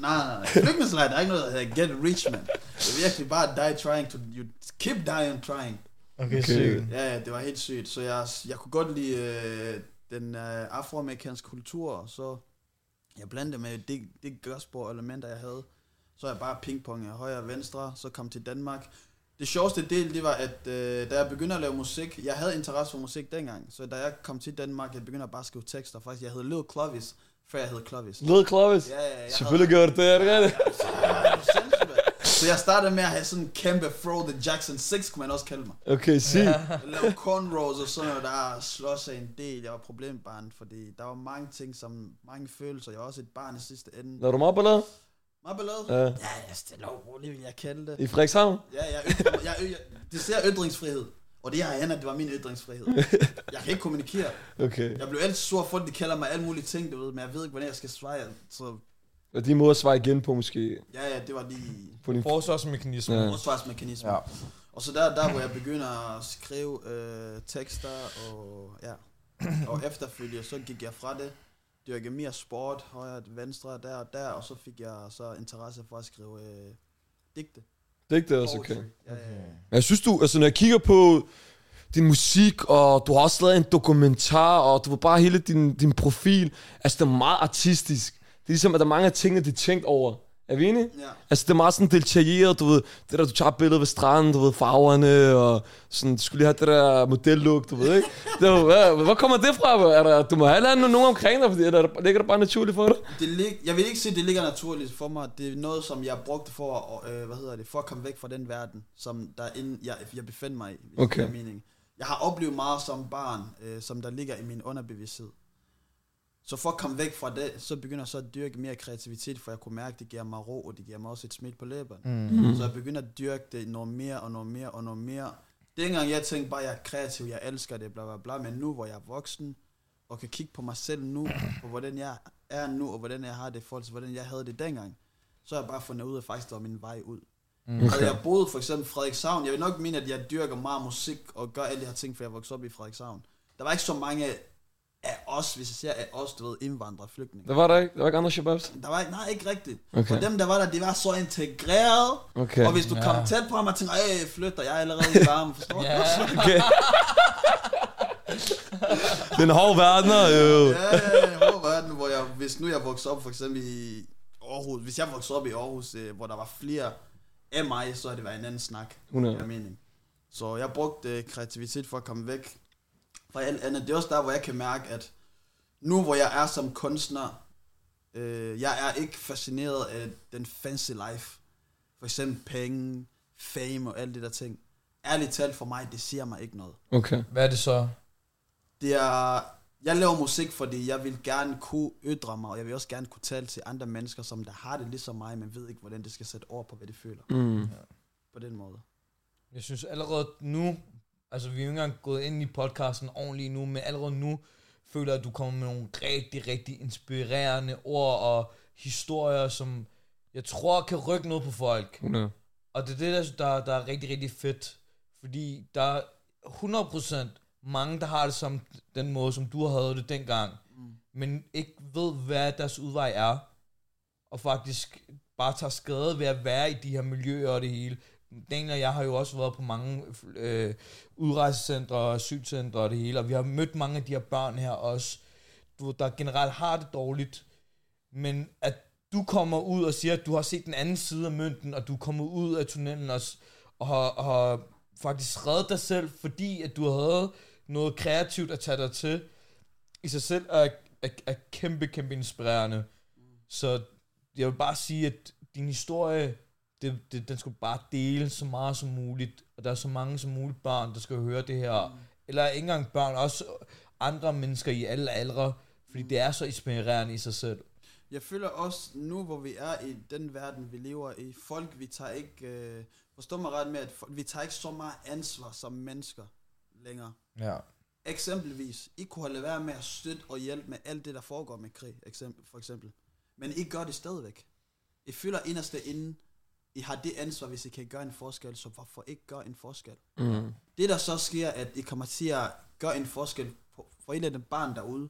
Speaker 4: nej, nej, nej. Flygtningslejr, der er ikke noget, der hedder get rich, man. Det er virkelig bare die trying to... You keep dying trying.
Speaker 3: Okay,
Speaker 2: Okay.
Speaker 3: sygt.
Speaker 4: Ja, ja, det var helt sygt. Så jeg, jeg kunne godt lide øh, den øh, afroamerikanske kultur, og så jeg blandede med det, det gospel elementer, jeg havde. Så jeg bare pingpong af højre og venstre, så kom til Danmark. Det sjoveste del, det var, at øh, da jeg begyndte at lave musik, jeg havde interesse for musik dengang, så da jeg kom til Danmark, jeg begyndte at bare skrive tekster. Faktisk, jeg hed Lil Clovis, før jeg hed Clovis.
Speaker 2: Lille Clovis.
Speaker 4: Ja, ja, jeg
Speaker 2: Selvfølgelig gjorde det, er det ikke det?
Speaker 4: havde, sindssygt, mand. Så jeg startede med at have sådan en kæmpe Fro the Jackson 6, kunne man også kalde mig.
Speaker 2: Okay, sig.
Speaker 4: Jeg lavede cornrows og sådan noget, der slås sig en del. Jeg var problembarn, fordi der var mange ting, som mange følelser. Jeg var også et barn i sidste ende.
Speaker 2: Når du mig eller?
Speaker 4: Meget ballade.
Speaker 2: Ja.
Speaker 4: Ja, ja, stille og roligt, vil jeg kalde det.
Speaker 2: I Frederikshavn?
Speaker 4: Ja, jeg, ytrer mig- jeg, jeg, det ser ytringsfrihed. Og det her hænder, det var min ytringsfrihed. Jeg kan ikke kommunikere.
Speaker 2: Okay.
Speaker 4: Jeg blev altid sur for, at de kalder mig alle mulige ting, du ved, men jeg ved ikke, hvornår jeg skal svare. Så
Speaker 2: Og de må svare igen på måske.
Speaker 4: ja, ja, det var lige
Speaker 2: På din...
Speaker 3: Forsvarsmekanisme.
Speaker 2: Ja.
Speaker 3: Ja.
Speaker 4: forsvarsmekanisme.
Speaker 3: Ja.
Speaker 4: Ja. Og så der, der hvor jeg begynder at skrive øh, tekster, og ja, og efterfølgende, så gik jeg fra det, dyrkede mere sport, højre, venstre, der og der, og så fik jeg så interesse for at skrive øh, digte.
Speaker 2: Digte også, okay.
Speaker 4: Ja, ja, ja.
Speaker 2: Men jeg synes du, altså når jeg kigger på din musik, og du har også lavet en dokumentar, og du var bare hele din, din profil, altså det er meget artistisk. Det er ligesom, at der er mange af tingene, de er tænkt over. Er vi enige?
Speaker 4: Ja.
Speaker 2: Altså det er meget sådan detaljeret, du ved, det der du tager billedet ved stranden, du ved, farverne, og sådan, du skulle lige have det der modellook, du ved, ikke? Det var, hvad, hvor kommer det fra? bro? Er der, du må have eller andet, nogen omkring dig, fordi, eller er der- ligger det bare naturligt for dig?
Speaker 4: Det lig, jeg vil ikke sige, at det ligger naturligt for mig. Det er noget, som jeg brugte for, at, øh, hvad hedder det, for at komme væk fra den verden, som der inden jeg, jeg befandt mig i. hvis det
Speaker 2: Okay.
Speaker 4: giver mening. Jeg har oplevet meget som barn, øh, som der ligger i min underbevidsthed. Så for at komme væk fra det, så begynder jeg så at dyrke mere kreativitet, for jeg kunne mærke, at det giver mig ro, og det giver mig også et smil på læberne. Mm. Så jeg begynder at dyrke det noget mere og noget mere og noget mere. Dengang jeg tænkte bare, at jeg er kreativ, jeg elsker det, bla bla bla, men nu hvor jeg er voksen, og kan kigge på mig selv nu, på hvordan jeg er nu, og hvordan jeg har det i forhold til, hvordan jeg havde det dengang, så har jeg bare fundet ud af, at faktisk der var min vej ud. Mm. Altså, jeg boede for eksempel i Frederikshavn. Jeg vil nok mene, at jeg dyrker meget musik og gør alle de her ting, for jeg voksede op i Frederikshavn. Der var ikke så mange af os, hvis jeg siger af os, du ved, indvandrere, flygtninge.
Speaker 2: Der var der ikke, der var ikke andre shababs?
Speaker 4: Der var ikke, nej, ikke rigtigt.
Speaker 2: Okay.
Speaker 4: Og dem, der var der, de var så integreret.
Speaker 2: Okay.
Speaker 4: Og hvis du kom
Speaker 3: Ja.
Speaker 4: tæt på ham og tænkte, øh, flytter jeg er allerede i varmen, forstår du?
Speaker 3: Ja,
Speaker 2: Okay. det er en hård verden, jo.
Speaker 4: Ja, ja, jeg håber, at nu, hvor jeg, hvis nu jeg voksede op for eksempel i Aarhus, hvis jeg voksede op i Aarhus, øh, hvor der var flere af mig, så havde det været en anden snak.
Speaker 2: 100.
Speaker 4: Jeg mening. Så jeg brugte øh, kreativitet for at komme væk fra alt andet. Det er også der, hvor jeg kan mærke, at nu hvor jeg er som kunstner, øh, jeg er ikke fascineret af den fancy life. For eksempel penge, fame og alt det der ting. Ærligt talt for mig, det siger mig ikke noget.
Speaker 2: Okay.
Speaker 3: hvad er det så?
Speaker 4: Det er, jeg laver musik, fordi jeg vil gerne kunne ytre mig, og jeg vil også gerne kunne tale til andre mennesker, som der har det ligesom mig, men ved ikke, hvordan det skal sætte ord på, hvad de føler.
Speaker 2: Mm.
Speaker 4: På den måde.
Speaker 3: Jeg synes allerede nu, altså vi er jo ikke engang gået ind i podcasten ordentligt nu, men allerede nu føler jeg, at du kommer med nogle rigtig, rigtig inspirerende ord og historier, som jeg tror kan rykke noget på folk.
Speaker 2: 100.
Speaker 3: Og det er det, der, der, der er rigtig, rigtig fedt. Fordi der er 100% mange, der har det som den måde, som du havde det dengang. Mm. Men ikke ved, hvad deres udvej er. Og faktisk bare tager skade ved at være i de her miljøer og det hele. Daniel og jeg har jo også været på mange øh, udrejsecentre og asylcentre og det hele. Og vi har mødt mange af de her børn her også, du ved, der generelt har det dårligt. Men at du kommer ud og siger, at du har set den anden side af mønten, og du er kommet ud af tunnelen og, s- og, har, og har faktisk reddet dig selv, fordi at du havde noget kreativt at tage dig til, i sig selv er, er, er kæmpe, kæmpe inspirerende. Så jeg vil bare sige, at din historie, det, det, den skal bare dele så meget som muligt, og der er så mange som muligt børn, der skal høre det her. Mm. Eller ikke engang børn, også andre mennesker i alle aldre, fordi det er så inspirerende i sig selv.
Speaker 4: Jeg føler også, nu hvor vi er i den verden, vi lever i, folk, vi tager ikke, øh, forstå mig ret med, at folk, vi tager ikke så meget ansvar som mennesker længere.
Speaker 3: Ja.
Speaker 4: Eksempelvis, I kunne have lade være med at støtte og hjælpe med alt det, der foregår med krig, eksempel, for eksempel. Men I gør det stadigvæk. I føler inderst inden, I har det ansvar, hvis I kan gøre en forskel, så hvorfor ikke gøre en forskel?
Speaker 2: Mm.
Speaker 4: Det der så sker, at I kommer til at gøre en forskel på, for et af dem barn derude,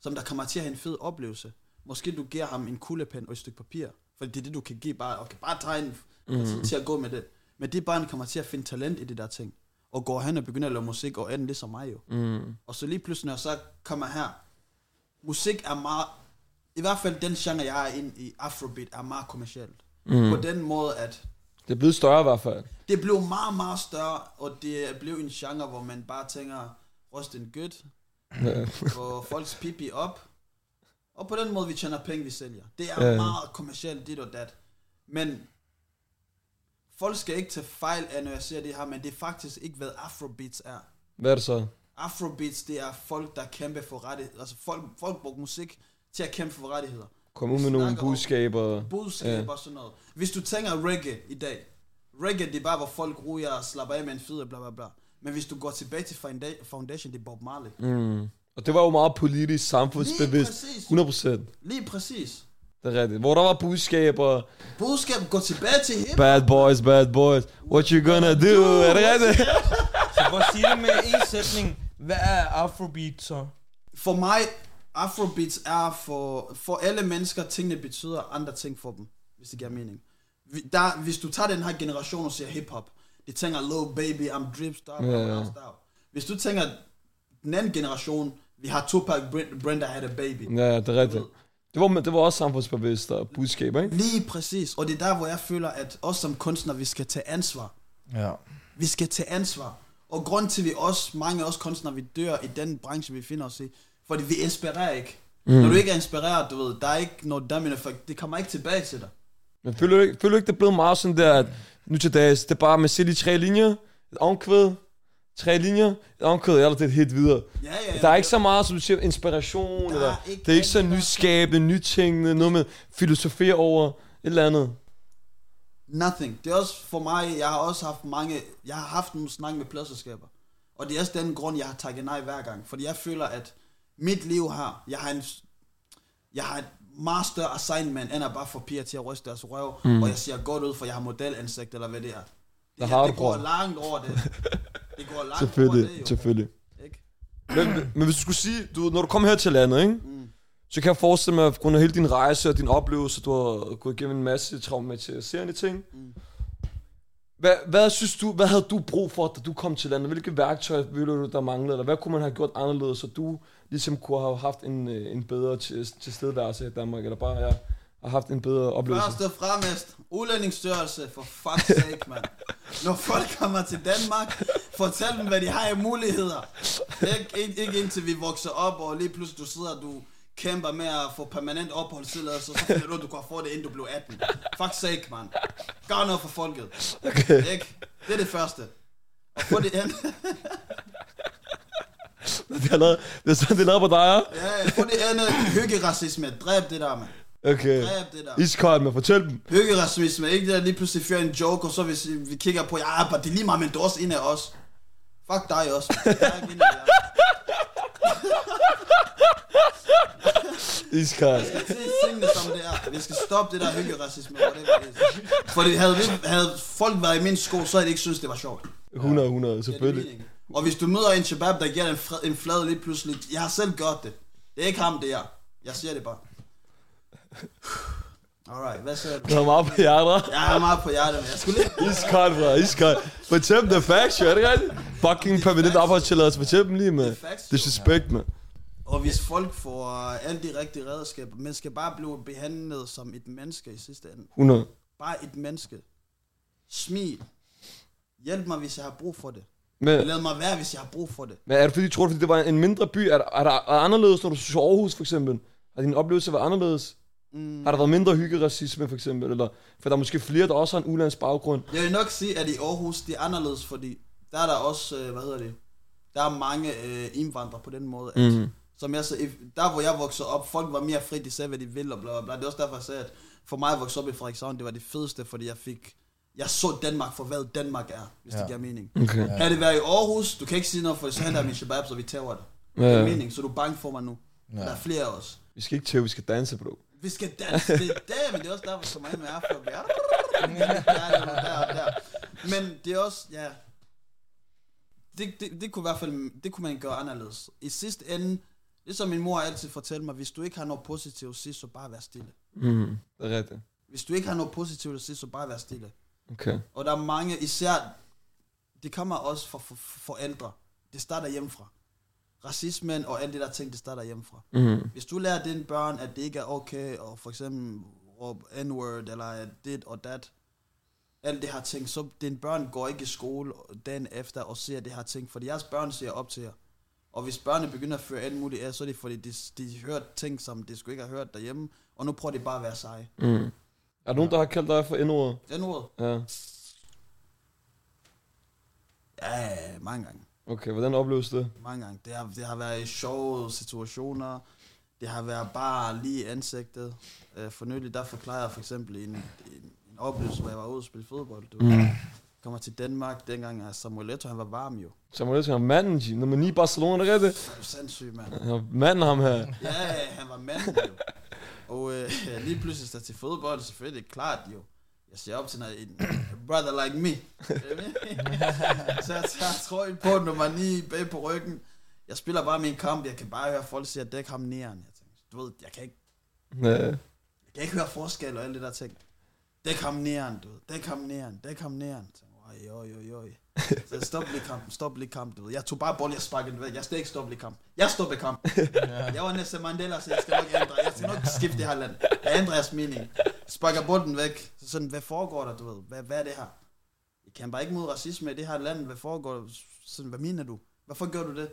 Speaker 4: som der kommer til at have en fed oplevelse. Måske du giver ham en kuglepen og et stykke papir, for det er det, du kan give bare, og kan bare tegne mm. til at gå med det. Men det barn kommer til at finde talent i det der ting, og går hen og begynder at lave musik, og er den ligesom mig jo.
Speaker 2: Mm.
Speaker 4: Og så lige pludselig, når jeg så kommer her, musik er meget, i hvert fald den genre, jeg er inde i, Afrobeat, er meget kommercielt. Mm. På den måde, at
Speaker 2: Det er blevet større i hvert fald.
Speaker 4: det blev meget, meget større, og det blev en genre, hvor man bare tænker, rost en gødt, og folks pipi op. Og på den måde, vi tjener penge, vi sælger. Det er
Speaker 2: Ja.
Speaker 4: yeah. meget kommercielt, dit og dat. Men folk skal ikke tage fejl af, når jeg siger det her, men det er faktisk ikke, hvad Afrobeats er.
Speaker 2: Hvad er det så?
Speaker 4: Afrobeats, det er folk, der kæmper for rettigheder. Altså folk, folk brugte musik til at kæmpe for rettigheder.
Speaker 2: Kom ud med nogle
Speaker 4: snakker om-
Speaker 2: budskaber.
Speaker 4: Budskaber
Speaker 2: Ja.
Speaker 4: og sådan noget. Hvis du tænker reggae i dag, reggae det er bare, hvor folk ryger og slapper af med en fede, bla bla bla. Men hvis du går tilbage til Founda- Foundation, det er Bob Marley.
Speaker 2: Mm. Og det var jo meget politisk
Speaker 4: Lige
Speaker 2: samfundsbevidst.
Speaker 4: præcis.
Speaker 2: 100 procent.
Speaker 4: Lige præcis.
Speaker 2: Det er rigtigt. Hvor der var budskaber.
Speaker 4: Budskab går tilbage til hip.
Speaker 2: Bad boys, bad boys. What you gonna do? Er det rigtigt?
Speaker 3: Så prøv at sige det med en sætning. Hvad er Afrobeat så?
Speaker 4: For mig, Afrobeats er for, for alle mennesker, tingene betyder andre ting for dem, hvis det giver mening. Vi- Der, hvis du tager den her generation og siger hiphop, de tænker, low baby, I'm drip star,
Speaker 2: Ja,
Speaker 4: yeah,
Speaker 2: ja.
Speaker 4: yeah. Hvis du tænker, den anden generation, vi har Tupac, Bren- Brenda had a baby.
Speaker 2: Ja, det er rigtigt. Det var, det var også samfundsbevidst og budskaber, ikke?
Speaker 4: Lige præcis, og det er der, hvor jeg føler, at os som kunstnere, vi skal tage ansvar.
Speaker 3: Ja.
Speaker 4: Vi skal tage ansvar. Og grund til, at vi også, mange af os kunstnere, vi dør i den branche, vi finder os i, fordi vi inspirerer ikke. Mm. Når du ikke er inspireret, du ved, der er ikke noget domino effect. Det kommer ikke tilbage til dig.
Speaker 2: Men føler du ikke, føler du ikke det er blevet meget sådan der, at nu til dags, det er bare, man ser de tre linjer, et omkvæd, tre linjer, et omkvæd, eller det er et hit videre.
Speaker 4: Ja, ja, ja.
Speaker 2: Der er ikke så meget, som du siger, inspiration,
Speaker 4: Der
Speaker 2: eller
Speaker 4: er ikke
Speaker 2: det er ikke så
Speaker 4: rigtig-
Speaker 2: nyskabende, nytænkende, noget med filosofi over et eller andet.
Speaker 4: Nothing. Det er også for mig, jeg har også haft mange, jeg har haft nogle snak med pladselskaber. Og det er også den grund, jeg har takket nej hver gang. Fordi jeg føler, at mit liv her, jeg har en, jeg har et meget større assignment, end at bare få piger til at ryste deres røv, mm. og jeg ser godt ud, for jeg har modelansigt, eller hvad det er. Det,
Speaker 2: Der
Speaker 4: her,
Speaker 2: har du,
Speaker 4: det går
Speaker 2: bror.
Speaker 4: langt over det. Det går langt over
Speaker 2: Selvfølgelig,
Speaker 4: det, jo.
Speaker 2: selvfølgelig.
Speaker 4: Ikke?
Speaker 2: Men, men hvis du skulle sige, du, ved, når du kom her til landet, ikke? Mm. så kan jeg forestille mig, at på grund af hele din rejse og din oplevelse, du har gået igennem en masse traumatiserende ting. Mm. Hvad, hvad, synes du, hvad havde du brug for, da du kom til landet? Hvilke værktøjer ville du, der manglede? Eller hvad kunne man have gjort anderledes, så du ligesom kunne have haft en, øh, en bedre til, tilstedeværelse i Danmark? Eller bare ja, har haft en bedre oplevelse?
Speaker 4: Først og fremmest, udlændingsstørrelse, for fuck's sake, mand. Når folk kommer til Danmark, fortæl dem, hvad de har af muligheder. Ikke, ikke, ikke indtil vi vokser op, og lige pludselig du sidder, og du kæmper med at få permanent opholdstilladelse, og så finder du, ud, at du kan få det, inden du blev 18. Fuck's sake, mand. Gør noget for folket. Okay. Ikke? Det er det første. Og få det andet.
Speaker 2: Det er, lavet, det er sådan, det er lavet på dig, ja?
Speaker 4: Ja, få det andet. Hyggeracisme. Dræb det der, mand.
Speaker 2: Okay.
Speaker 4: Dræb det der.
Speaker 2: Iskold, men fortæl dem.
Speaker 4: Hyggeracisme, ikke det der lige pludselig fyrer en joke, og så hvis vi kigger på, ja, bare det er lige meget, men du er også en af os. Fuck dig også. Jeg er ikke en af jer.
Speaker 2: Iskold.
Speaker 4: Jeg skal se tingene som det er. Vi skal stoppe det der hyggeracisme. whatever it is. Fordi havde, vi, havde folk været i min sko, så havde de ikke synes det var sjovt. Det
Speaker 2: 100, 100,
Speaker 4: er
Speaker 2: selvfølgelig.
Speaker 4: meningen. Og hvis du møder en shabab, der giver dig en, fred, en flad lige pludselig, jeg har selv gjort det. Det er ikke ham, det er jeg. Jeg siger det bare. Alright, hvad siger du?
Speaker 2: Der er meget på hjertet.
Speaker 4: Jeg er meget på hjertet, men jeg skulle lige...
Speaker 2: Iskold, bro. Iskold. Fortæl dem the facts, jo. Er det ikke rigtigt? Fucking permanent opholdstilladelse. Fortæl dem lige, man.
Speaker 4: facts, jo.
Speaker 2: Disrespect, man.
Speaker 4: Og hvis folk får øh, alle de rigtige redskaber, man skal bare blive behandlet som et menneske i sidste ende.
Speaker 2: 100.
Speaker 4: Bare et menneske. Smil. Hjælp mig, hvis jeg har brug for det.
Speaker 2: Men,
Speaker 4: Lad mig være, hvis jeg har brug for det.
Speaker 2: men er det fordi, tror du, fordi det var en mindre by? Er, der- er der er anderledes, når du så Aarhus, for eksempel? Har din oplevelse været anderledes? Mm. Har der været mindre hyggeracisme, for eksempel? Eller, for der er måske flere, der også har en ulands baggrund.
Speaker 4: Jeg vil nok sige, at i Aarhus, det er anderledes, fordi der er der også, øh, hvad hedder det, der er mange øh, indvandrere på den måde, at, mm. som jeg så, if- der hvor jeg voksede op, folk var mere fri, de sagde, hvad de ville, og bla, bla, bla. Det er også derfor, jeg sagde, at for mig at vokse op i Frederikshavn, det var det fedeste, fordi jeg fik, jeg så Danmark for, hvad Danmark er, hvis ja.
Speaker 3: Ja.
Speaker 4: det giver mening.
Speaker 2: Okay.
Speaker 4: Ja. Er det været i Aarhus, du kan ikke sige noget, for så handler min shabab, så vi tæver dig. Ja. Det
Speaker 2: Ja.
Speaker 4: er mening, så du er bange for mig nu. Ja. Der er flere af os.
Speaker 2: Vi skal ikke tæve, vi skal danse, bro.
Speaker 4: Vi skal danse, det er der, men det er også derfor, så meget med afro. Ja, der, der, der. Men det er også, ja. Det, det, det, kunne i hvert fald, det kunne man gøre anderledes. I sidste ende, ligesom min mor altid fortalte mig, hvis du ikke har noget positivt at sige, så bare vær stille.
Speaker 2: Mm. Det er rigtigt.
Speaker 4: Hvis du ikke har noget positivt at sige, så bare vær stille.
Speaker 2: Okay.
Speaker 4: Og der er mange, især, det kommer også fra for, for forældre. Det starter hjemmefra. Racismen og alt det der ting, det starter hjemmefra.
Speaker 2: Mm.
Speaker 4: Hvis du lærer dine børn, at det ikke er okay, og for eksempel råbe n-word, eller at dit og dat, alt det her ting, så dine børn går ikke i skole dagen efter og ser det her ting, fordi jeres børn ser op til jer. Og hvis børnene begynder at føre alt muligt af, så er det fordi, de, de hører ting, som de skulle ikke have hørt derhjemme, og nu prøver de bare at være seje.
Speaker 2: Mm. Er der nogen, der har kaldt dig for endordet?
Speaker 4: N-word?
Speaker 2: Ja.
Speaker 4: Ja, mange gange.
Speaker 2: Okay, hvordan opleves det?
Speaker 4: Mange gange. Det har, det har været i sjove situationer. Det har været bare lige i ansigtet. Øh, for nylig, der forklarer jeg for eksempel en, en, en oplevelse, hvor jeg var ude og spille fodbold. Du. Mm. Kommer til Danmark, dengang er Samuel Eto'o, han var varm jo.
Speaker 2: Samuel Eto'o, manden, G. nummer 9 i Barcelona, er det rigtigt?
Speaker 4: Er du sindssyg, mand?
Speaker 2: Ja, Manden ham her.
Speaker 4: Ja, han var manden jo. Og øh, lige pludselig står jeg til fodbold, selvfølgelig, det er klart jo. Jeg ser op til noget, en brother like me. så jeg tager trøjen på, nummer 9 bag på ryggen. Jeg spiller bare min kamp, jeg kan bare høre folk sige, at dæk ham næren. Jeg tænker, du ved, jeg kan ikke,
Speaker 2: Ja.
Speaker 4: jeg kan ikke høre forskel og alt det der ting. Dæk ham næren, du ved. Dæk ham næren, dæk ham næren. Så, oj, oj, oj, oj. Så stop lige kampen, stop lige kampen, du ved. Jeg tog bare bolden, jeg sparkede den væk. Jeg skal ikke stoppe lige kampen. Jeg stopper kampen. Jeg var næsten Mandela, så jeg skal nok ændre. Jeg skal nok skifte det her land. Jeg ændrer jeres mening. Sparker bolden væk. Så sådan, hvad foregår der, du ved? Hvad, hvad er det her? Jeg kæmper ikke mod racisme i det her land. Hvad foregår der? Sådan, hvad mener du? Hvorfor gør du det?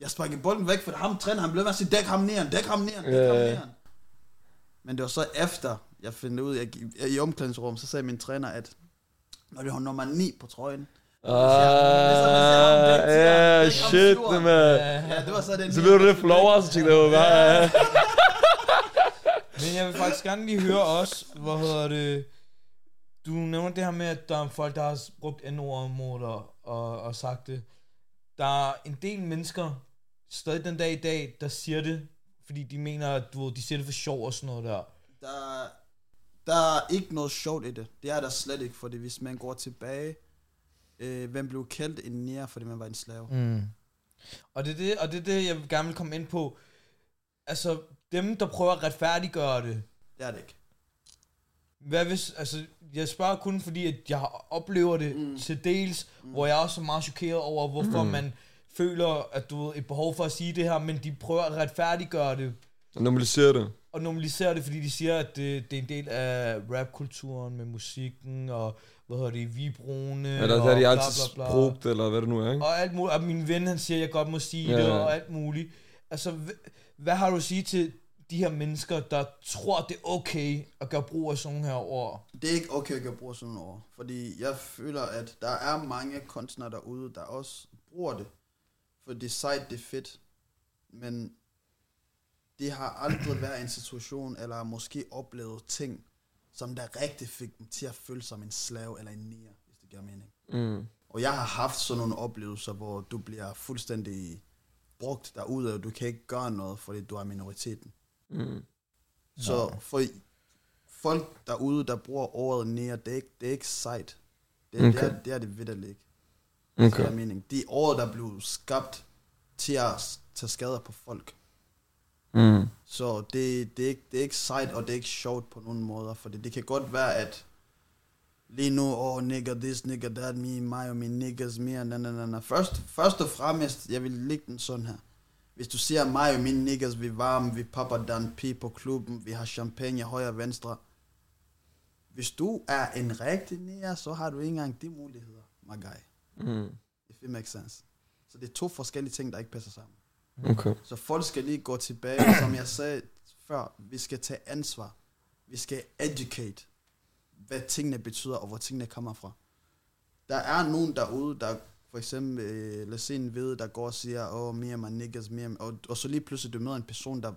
Speaker 4: Jeg sparker bolden væk, for ham træner, han blev ved at sige, dæk ham næren, dæk ham næren, dæk ham
Speaker 2: Ja, ja.
Speaker 4: næren. Men det var så efter, jeg fandt ud, jeg, gik- i omklædningsrummet, så sagde min træner, at når det var nummer 9 på trøjen.
Speaker 2: Ah, ja, shit, det man.
Speaker 4: Ja, det var så den
Speaker 2: Så
Speaker 4: nier,
Speaker 2: blev du
Speaker 4: der
Speaker 2: lidt
Speaker 4: skulle
Speaker 2: flov, og så tænkte jeg, hvad er
Speaker 3: Men jeg vil faktisk gerne lige høre også, hvad hedder det, du nævner det her med, at der er folk, der har brugt n-ord mod dig og, og sagt det. Der er en del mennesker, stadig den dag i dag, der siger det, fordi de mener, at du, ved, de siger det for sjov og sådan noget der.
Speaker 4: der, der er ikke noget sjovt i det. Det er der slet ikke, fordi hvis man går tilbage, øh, hvem blev kaldt en nære, fordi man var en slave?
Speaker 3: Mm. Og det er det, og det, er det jeg gerne vil komme ind på. Altså, dem, der prøver at retfærdiggøre det,
Speaker 4: Det er det ikke.
Speaker 3: Hvad hvis, altså, jeg spørger kun fordi, at jeg oplever det mm. til dels, mm. hvor jeg også er meget chokeret over, hvorfor mm. man føler, at du ved, et behov for at sige det her, men de prøver at retfærdiggøre det,
Speaker 2: Og normalisere det.
Speaker 3: og normalisere det, fordi de siger, at det, det er en del af rapkulturen med musikken, og hvad hedder det, vibroene,
Speaker 2: Ja, der, der
Speaker 3: og
Speaker 2: er de altid sprugt, eller hvad det nu er, ikke?
Speaker 3: og alt muligt. Og min ven, han siger, at jeg godt må sige
Speaker 2: Ja,
Speaker 3: ja. det,
Speaker 2: ja.
Speaker 3: og alt muligt. Altså, hv- hvad har du at sige til de her mennesker, der tror, det er okay at gøre brug af sådan nogle her ord?
Speaker 4: Det er ikke okay at gøre brug af sådan nogle ord, fordi jeg føler, at der er mange kunstnere derude, der også bruger det, for det er sejt, det er fedt, men det har aldrig været en situation, eller måske oplevet ting, som der rigtig fik dem til at føle som en slave eller en nier, hvis det giver mening.
Speaker 2: Mm.
Speaker 4: Og jeg har haft sådan nogle oplevelser, hvor du bliver fuldstændig brugt derude, og du kan ikke gøre noget, fordi du er minoriteten.
Speaker 2: Mm.
Speaker 4: Så for i- folk derude, der bruger ordet nære, det er ikke, det er ikke sejt. Det, okay. det,
Speaker 2: Okay.
Speaker 4: er, det er det vidderligt ikke.
Speaker 2: Okay.
Speaker 4: Okay. Det mening. Det er ordet, der blev skabt til at s- tage skader på folk.
Speaker 2: Mm.
Speaker 4: Så det, det, er ikke, det er ikke sejt, og det er ikke sjovt på nogen måder, for det, det kan godt være, at lige nu, åh, oh, nigger this, nigger that, me, mig og mine niggas mere, na, na, na, na. Først, først og fremmest, jeg vil lægge den sådan her. Hvis du siger mig og mine niggas, vi er varme, vi popper Dan P på klubben, vi har champagne højre og venstre. Hvis du er en rigtig nigger, så har du ikke engang de muligheder, my guy.
Speaker 2: Mm.
Speaker 4: If it makes sense. Så det er to forskellige ting, der ikke passer sammen.
Speaker 2: Okay.
Speaker 4: Så folk skal lige gå tilbage, som jeg sagde før, vi skal tage ansvar. Vi skal educate, hvad tingene betyder og hvor tingene kommer fra. Der er nogen derude, der for eksempel, øh, lad os se en ved, der går og siger, åh, oh, me and my niggas, me and... Og, og så lige pludselig du møder en person, der...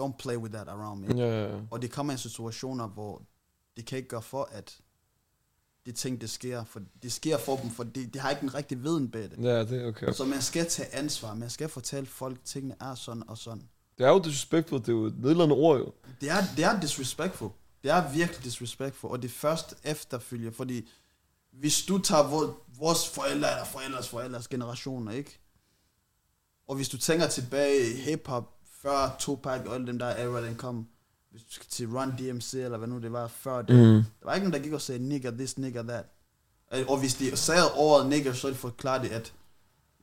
Speaker 4: Don't play with that around me.
Speaker 2: Ja, ja, ja.
Speaker 4: Og det kommer i situationer, hvor det kan ikke gøre for, at de ting, det sker, for det sker for dem, for de, de har ikke den rigtige viden bag det.
Speaker 2: Ja, det er okay.
Speaker 4: Så man skal tage ansvar, man skal fortælle folk, at tingene er sådan og sådan.
Speaker 2: Det er jo disrespectful, det er jo et nedladende ord jo.
Speaker 4: Det er, det er disrespectful. Det er virkelig disrespectful, og det er først efterfølger, fordi hvis du tager vor, vores forældre eller forældres forældres generationer, ikke? Og hvis du tænker tilbage i hiphop, før Tupac og alle dem der era, den kom, hvis du skal til Run DMC eller hvad nu det var før det,
Speaker 2: Mm.
Speaker 4: der var ikke nogen, der gik og sagde, nigger this, nigger that. Øh, Og hvis de sagde ordet nigger, så forklarede det, at